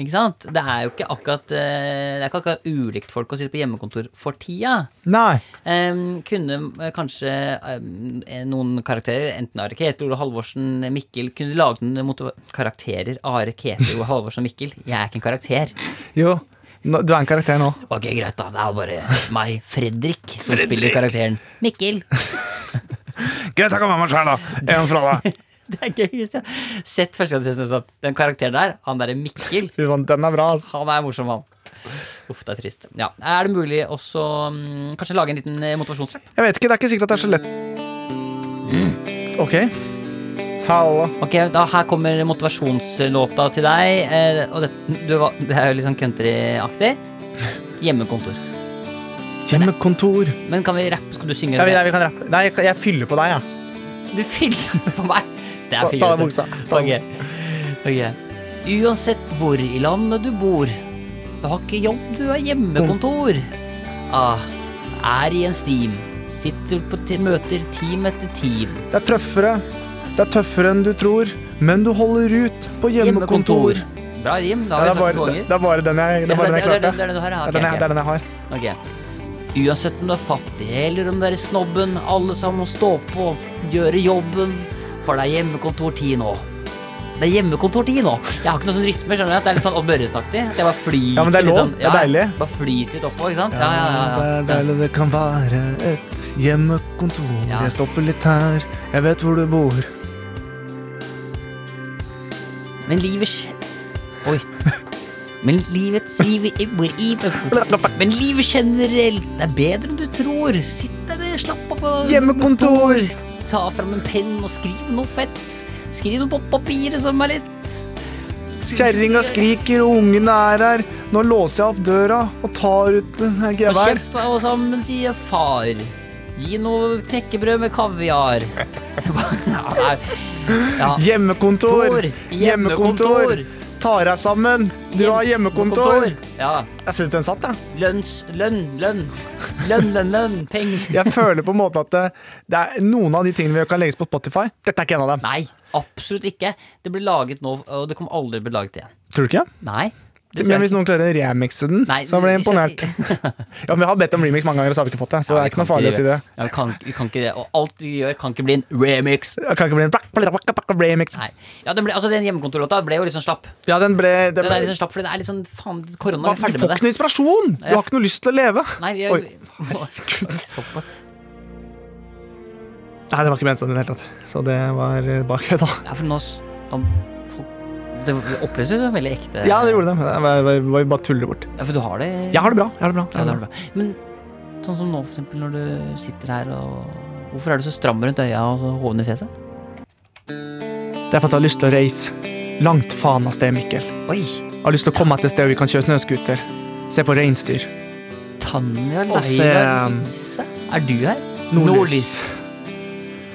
[SPEAKER 2] Ikke sant? Det er jo ikke akkurat, eh, det er ikke akkurat ulikt folk å sitte på hjemmekontor for tida.
[SPEAKER 3] Nei.
[SPEAKER 2] Em, kunne eh, kanskje em, eh, noen karakterer, enten Are Ketil og Halvorsen eh, Mikkel, kunne lage noen motiva- karakterer Are Ketil og Halvorsen Mikkel? Jeg er ikke en karakter.
[SPEAKER 3] Jo. Nå- Du er en karakter nå.
[SPEAKER 2] Ok, greit, da. Det er bare meg, Fredrik, som spiller karakteren Mikkel.
[SPEAKER 3] Greit, jeg kan være meg sjøl, da. En fra deg.
[SPEAKER 2] Det er gøy. hvis jeg- Sett første gang du ser sånn. Den karakteren der, han derre Mikkel,
[SPEAKER 3] Fy faen, den er bra, altså.
[SPEAKER 2] han er morsom, han. Uff, det er trist. Ja, Er det mulig også mm, kanskje lage en liten eh, motivasjonstrapp?
[SPEAKER 3] Jeg vet ikke, det er ikke sikkert at det er så lett. Mm. Ok. Halla.
[SPEAKER 2] Ok, da Her kommer motivasjonslåta til deg. Eh, og det, du, var- det er jo litt sånn countryaktig. Hjemmekontor.
[SPEAKER 3] Hjemmekontor.
[SPEAKER 2] Men kan vi rappe? Skal du synge?
[SPEAKER 3] Ja, vi, nei, vi kan rappe. Nei, jeg, jeg fyller på deg, jeg.
[SPEAKER 2] Du filmer på meg! Det
[SPEAKER 3] Ta,
[SPEAKER 2] er
[SPEAKER 3] ta av
[SPEAKER 2] fint.
[SPEAKER 3] buksa. Ta av
[SPEAKER 2] Ok. Ok. Uansett hvor i landet du bor, du har ikke jobb, du har hjemmekontor. Ah, er i en steam, sitter på te- møter team etter team.
[SPEAKER 3] buksa. Det er tøffere. Det er tøffere enn du tror, men du holder ut på hjemmekontor.
[SPEAKER 2] Hjemmekontor. Bra rim. Da
[SPEAKER 3] Ja,
[SPEAKER 2] har
[SPEAKER 3] det,
[SPEAKER 2] vi sagt
[SPEAKER 3] er
[SPEAKER 2] det to
[SPEAKER 3] bare,
[SPEAKER 2] ganger.
[SPEAKER 3] det er bare den jeg, det er bare
[SPEAKER 2] Ja,
[SPEAKER 3] den jeg
[SPEAKER 2] det- det-
[SPEAKER 3] klarte.
[SPEAKER 2] det er den du har, ja. Ok,
[SPEAKER 3] Det er den jeg,
[SPEAKER 2] ok.
[SPEAKER 3] det er den jeg har.
[SPEAKER 2] Ok. Uansett om du er fattig eller om du er snobben, alle sammen må stå på, gjøre jobben, for det er hjemmekontortid nå. Det er hjemmekontortid nå. Jeg har ikke noe sånn rytme, skjønner du. at Det er litt sånn Odd Børre-snaktig. At jeg bare flyter
[SPEAKER 3] Ja, men det er
[SPEAKER 2] litt
[SPEAKER 3] lov.
[SPEAKER 2] sånn-
[SPEAKER 3] Det er
[SPEAKER 2] ja,
[SPEAKER 3] deilig.
[SPEAKER 2] Bare flyter litt oppå, ikke sant? Ja, ja, ja.
[SPEAKER 3] Det
[SPEAKER 2] ja.
[SPEAKER 3] er deilig det kan være et hjemmekontor.
[SPEAKER 2] Ja.
[SPEAKER 3] Jeg stopper litt her, jeg vet hvor du bor.
[SPEAKER 2] Men livet skj- Oi. Men livets livet i- hvor i Men livet generelt det er bedre enn du tror. Sitt der, slapp av. og-
[SPEAKER 3] Hjemmekontor!
[SPEAKER 2] Ta fram en penn og skriv noe fett. Skriv noe på papiret som er lett.
[SPEAKER 3] Kjerringa skriker, og ungene er her. Nå låser jeg opp døra og tar ut en
[SPEAKER 2] Hold
[SPEAKER 3] gevær.
[SPEAKER 2] kjeft, alle sammen, sier far. Gi noe knekkebrød med kaviar. ja.
[SPEAKER 3] Hjemmekontor!
[SPEAKER 2] Kontor, hjemmekontor.
[SPEAKER 3] Ta deg sammen! Du har hjemmekontor!
[SPEAKER 2] Ja.
[SPEAKER 3] Jeg syns den satt, jeg.
[SPEAKER 2] Lønns, lønn, lønn. Lønn, lønn, lønn. Penger.
[SPEAKER 3] Jeg føler på en måte at det, det er noen av de tingene vi kan legges på Spotify. Dette er ikke en av dem.
[SPEAKER 2] Nei, absolutt ikke. Det ble laget nå, og det kommer aldri til å bli laget igjen.
[SPEAKER 3] Tror du ikke?
[SPEAKER 2] Nei. det tror
[SPEAKER 3] Men
[SPEAKER 2] jeg
[SPEAKER 3] hvis
[SPEAKER 2] ikke.
[SPEAKER 3] noen klarer å remixe den,
[SPEAKER 2] Nei,
[SPEAKER 3] så blir jeg imponert.
[SPEAKER 2] vi
[SPEAKER 3] Ja, men Vi har bedt om remix mange ganger, og så har vi ikke fått det. Så det
[SPEAKER 2] Ja,
[SPEAKER 3] er
[SPEAKER 2] vi
[SPEAKER 3] ikke noe
[SPEAKER 2] kan
[SPEAKER 3] farlig å si det.
[SPEAKER 2] Ja, vi, kan, vi kan ikke det. Og alt vi gjør, kan ikke bli en remix.
[SPEAKER 3] Det kan ikke bli en blakk, blakk, blakk, blakk, remix.
[SPEAKER 2] Nei. Ja, den ble, altså, den hjemmekontorlåta ble jo litt sånn slapp.
[SPEAKER 3] Ja, den ble, den
[SPEAKER 2] Den
[SPEAKER 3] ble
[SPEAKER 2] er litt sånn slapp, fordi det er litt sånn faen, korona er
[SPEAKER 3] Hva, Du
[SPEAKER 2] ferdig
[SPEAKER 3] får
[SPEAKER 2] med
[SPEAKER 3] ikke
[SPEAKER 2] det.
[SPEAKER 3] noe inspirasjon! Du har ikke noe lyst til å leve.
[SPEAKER 2] Nei, vi,
[SPEAKER 3] Oi.
[SPEAKER 2] Såpass.
[SPEAKER 3] Nei, det var ikke ment sånn i det hele tatt. Så det var eh, bak da.
[SPEAKER 2] Ja, for nå s- nå folk- Det oppløses jo veldig ekte.
[SPEAKER 3] Ja, det gjorde det. Det var, var, var bare tuller bort.
[SPEAKER 2] Ja, for du har det
[SPEAKER 3] Jeg har det bra. Jeg har det bra.
[SPEAKER 2] Ja, det har du bra. Men sånn som nå, for eksempel, når du sitter her og Hvorfor er du så stram rundt øya og så hoven i fjeset?
[SPEAKER 3] Det er for at jeg har lyst til å reise langt faen av sted, Mikkel.
[SPEAKER 2] Oi!
[SPEAKER 3] Jeg har lyst til å komme til et sted hvor vi kan kjøre snøscooter. Se på reinsdyr.
[SPEAKER 2] Tanja
[SPEAKER 3] Og se,
[SPEAKER 2] Leila
[SPEAKER 3] um,
[SPEAKER 2] Lise. Er du her?
[SPEAKER 3] Jeg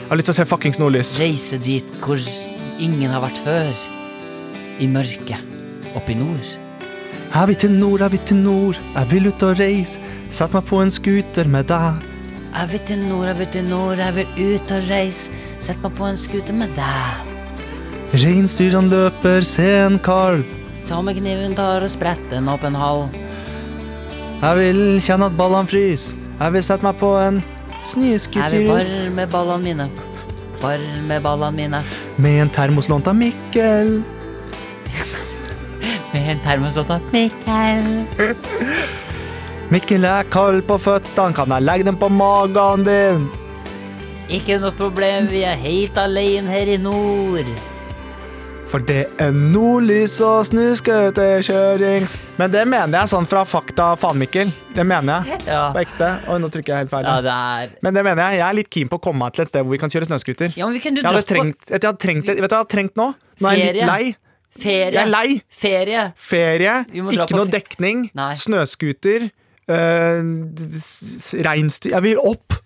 [SPEAKER 3] har lyst til å se fuckings nordlys.
[SPEAKER 2] Reise dit hvor ingen har vært før. I mørket. Oppe i nord.
[SPEAKER 3] Er vi til nord, er vi til nord? Jeg vil ut og reise. Sett meg på en scooter med deg.
[SPEAKER 2] Jeg vil til nord, jeg vil til nord, jeg vil ut og reise. Sett meg på en scooter med deg.
[SPEAKER 3] Reinsdyrene løper, se en kalv.
[SPEAKER 2] Ta med kniven, tar og spretter den opp en halv.
[SPEAKER 3] Jeg vil kjenne at ballene frys. Jeg vil sette meg på en
[SPEAKER 2] Jeg vil
[SPEAKER 3] snøscooter
[SPEAKER 2] varme ballene mine. Varme ballene mine.
[SPEAKER 3] med en termos lånt av Mikkel.
[SPEAKER 2] Med en termoslåt av
[SPEAKER 3] Mikkel er kald på føttene, kan jeg legge dem på magen din?
[SPEAKER 2] Ikke noe problem, vi er helt alene her i nord.
[SPEAKER 3] For det er nordlys og snøscooterkjøring. Men det mener jeg sånn fra fakta, faen, Mikkel. Det mener jeg.
[SPEAKER 2] Ja,
[SPEAKER 3] På ekte. Oi, nå trykker jeg helt feil.
[SPEAKER 2] ja det er
[SPEAKER 3] Men det mener jeg. Jeg er litt keen på å komme meg til et sted hvor vi kan kjøre snøscooter.
[SPEAKER 2] Ja, men vi kunne
[SPEAKER 3] Jeg hadde
[SPEAKER 2] dratt på
[SPEAKER 3] trengt, vet du, jeg hadde trengt, vet du, hva jeg hadde trengt nå? Nå er jeg litt
[SPEAKER 2] Ferie.
[SPEAKER 3] lei.
[SPEAKER 2] ferie.
[SPEAKER 3] Jeg er lei.
[SPEAKER 2] Ferie.
[SPEAKER 3] Ferie,
[SPEAKER 2] Vi må dra
[SPEAKER 3] ikke
[SPEAKER 2] på
[SPEAKER 3] noe
[SPEAKER 2] fe-
[SPEAKER 3] dekning,
[SPEAKER 2] Nei.
[SPEAKER 3] snøscooter, øh, reinsdyr Jeg vil opp!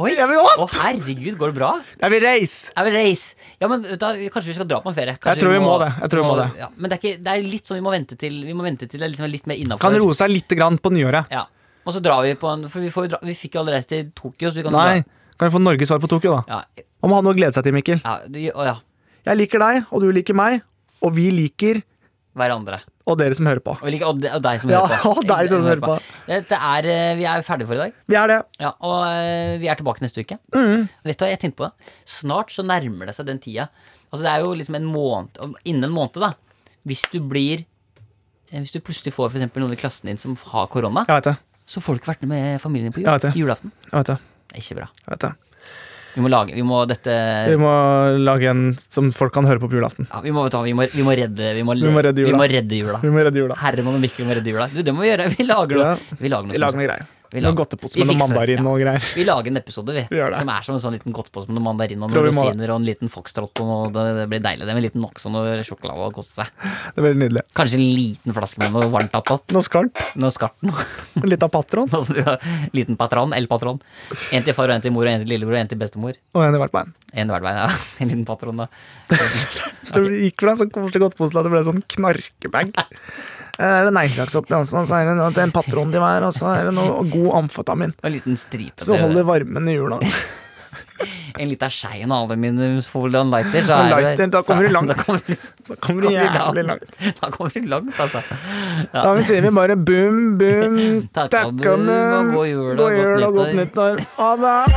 [SPEAKER 2] Oi.
[SPEAKER 3] Jeg vil opp!
[SPEAKER 2] Å, herregud, går det bra?
[SPEAKER 3] Jeg vil reise!
[SPEAKER 2] Jeg vil reise. Ja, men da, kanskje vi skal dra på en ferie. Kanskje
[SPEAKER 3] Jeg tror vi må det. Jeg tror vi må det.
[SPEAKER 2] Ja, men det er, ikke, det er litt sånn vi må vente til Vi må vente til det er liksom litt mer innafor.
[SPEAKER 3] Kan roe seg litt grann på nyåret.
[SPEAKER 2] Ja. Og så drar vi på en For vi, får jo dra, vi fikk jo alle reist til Tokyo, så vi kan jo
[SPEAKER 3] Nei, kan vi få Norges svar på Tokyo, da?
[SPEAKER 2] dra. sånn Ja,
[SPEAKER 3] Man må ha noe å glede seg til, Mikkel.
[SPEAKER 2] ja, du- å ja.
[SPEAKER 3] Jeg liker deg, og du liker meg, og vi liker
[SPEAKER 2] Hverandre.
[SPEAKER 3] og dere som hører på.
[SPEAKER 2] Og, vi liker, og, de, og deg som
[SPEAKER 3] Ja,
[SPEAKER 2] hører på.
[SPEAKER 3] og deg som hører på.
[SPEAKER 2] Dette er, eh, vi er ferdige for i dag.
[SPEAKER 3] Vi er det.
[SPEAKER 2] Ja, og eh, vi er tilbake neste uke.
[SPEAKER 3] Mm.
[SPEAKER 2] Vet du hva jeg tenkte på? det? Snart så nærmer det seg den tida. Altså det er jo liksom en måned og Innen en måned, da. Hvis du blir eh, Hvis du plutselig får for eksempel noen i klassen din som har korona,
[SPEAKER 3] Jeg vet det.
[SPEAKER 2] så får du ikke vært med familien på
[SPEAKER 3] Jeg
[SPEAKER 2] jul,
[SPEAKER 3] vet det.
[SPEAKER 2] julaften.
[SPEAKER 3] Jeg vet det.
[SPEAKER 2] Det er ikke bra.
[SPEAKER 3] Jeg vet det.
[SPEAKER 2] Vi må lage Vi må dette
[SPEAKER 3] Vi må lage en som folk kan høre på på julaften.
[SPEAKER 2] ja, vi, må, vet du hva, vi, må, vi må redde Vi må,
[SPEAKER 3] Vi må redde jula.
[SPEAKER 2] Vi må redde jula.
[SPEAKER 3] Vi må redde jula.
[SPEAKER 2] Herman og Mikkel må redde jula. Du, det må vi gjøre. Vi lager noe.
[SPEAKER 3] Ja.
[SPEAKER 2] Vi lager noe,
[SPEAKER 3] Vi
[SPEAKER 2] som-
[SPEAKER 3] lager noe greier.
[SPEAKER 2] Vi
[SPEAKER 3] Noen
[SPEAKER 2] lager-
[SPEAKER 3] godtepose med
[SPEAKER 2] Vi
[SPEAKER 3] noe
[SPEAKER 2] fikser det,
[SPEAKER 3] mandarin og greier.
[SPEAKER 2] Vi lager en episode vi,
[SPEAKER 3] Vi gjør det.
[SPEAKER 2] som er som en sånn liten godtpose med noen mandarin og
[SPEAKER 3] Tror
[SPEAKER 2] noen
[SPEAKER 3] vi må det.
[SPEAKER 2] rosiner og en liten foxtrot. Og noe, det, det blir deilig. Det med en liten Noxon og sjokolade og kose seg.
[SPEAKER 3] Det blir nydelig.
[SPEAKER 2] Kanskje en liten flaske med noe varmt attåt.
[SPEAKER 3] Noe skarpt.
[SPEAKER 2] Noe skarpt noe.
[SPEAKER 3] Litt av patron.
[SPEAKER 2] Altså, du har liten patron, el-patron. En til far og en til mor og en til lillebror og en til bestemor.
[SPEAKER 3] Og en i hvert bein.
[SPEAKER 2] En hver vei, ja. En liten patron, da.
[SPEAKER 3] Det gikk fra en sånn koselig godtepose til at det ble en sånn knarkebag. Eh, Det er det neglelakksopplegg også, og så er det noe- en patron til hver, og så er det noe god amfetamin.
[SPEAKER 2] Og en liten stripe.
[SPEAKER 3] Så
[SPEAKER 2] til-
[SPEAKER 3] holder varmen i jula.
[SPEAKER 2] En liten skei og en aluminiumsfolie og en lighter, så
[SPEAKER 3] Og
[SPEAKER 2] er
[SPEAKER 3] lighter, da
[SPEAKER 2] så-
[SPEAKER 3] kommer du langt.
[SPEAKER 2] Da kommer du
[SPEAKER 3] Da kommer det jævlig langt.
[SPEAKER 2] Da kommer du langt, altså.
[SPEAKER 3] Da sier vi bare boom, boom,
[SPEAKER 2] Takk og
[SPEAKER 3] takk og
[SPEAKER 2] boom, og god jul og
[SPEAKER 3] god
[SPEAKER 2] godt
[SPEAKER 3] jul og godt nyttår. Ha det.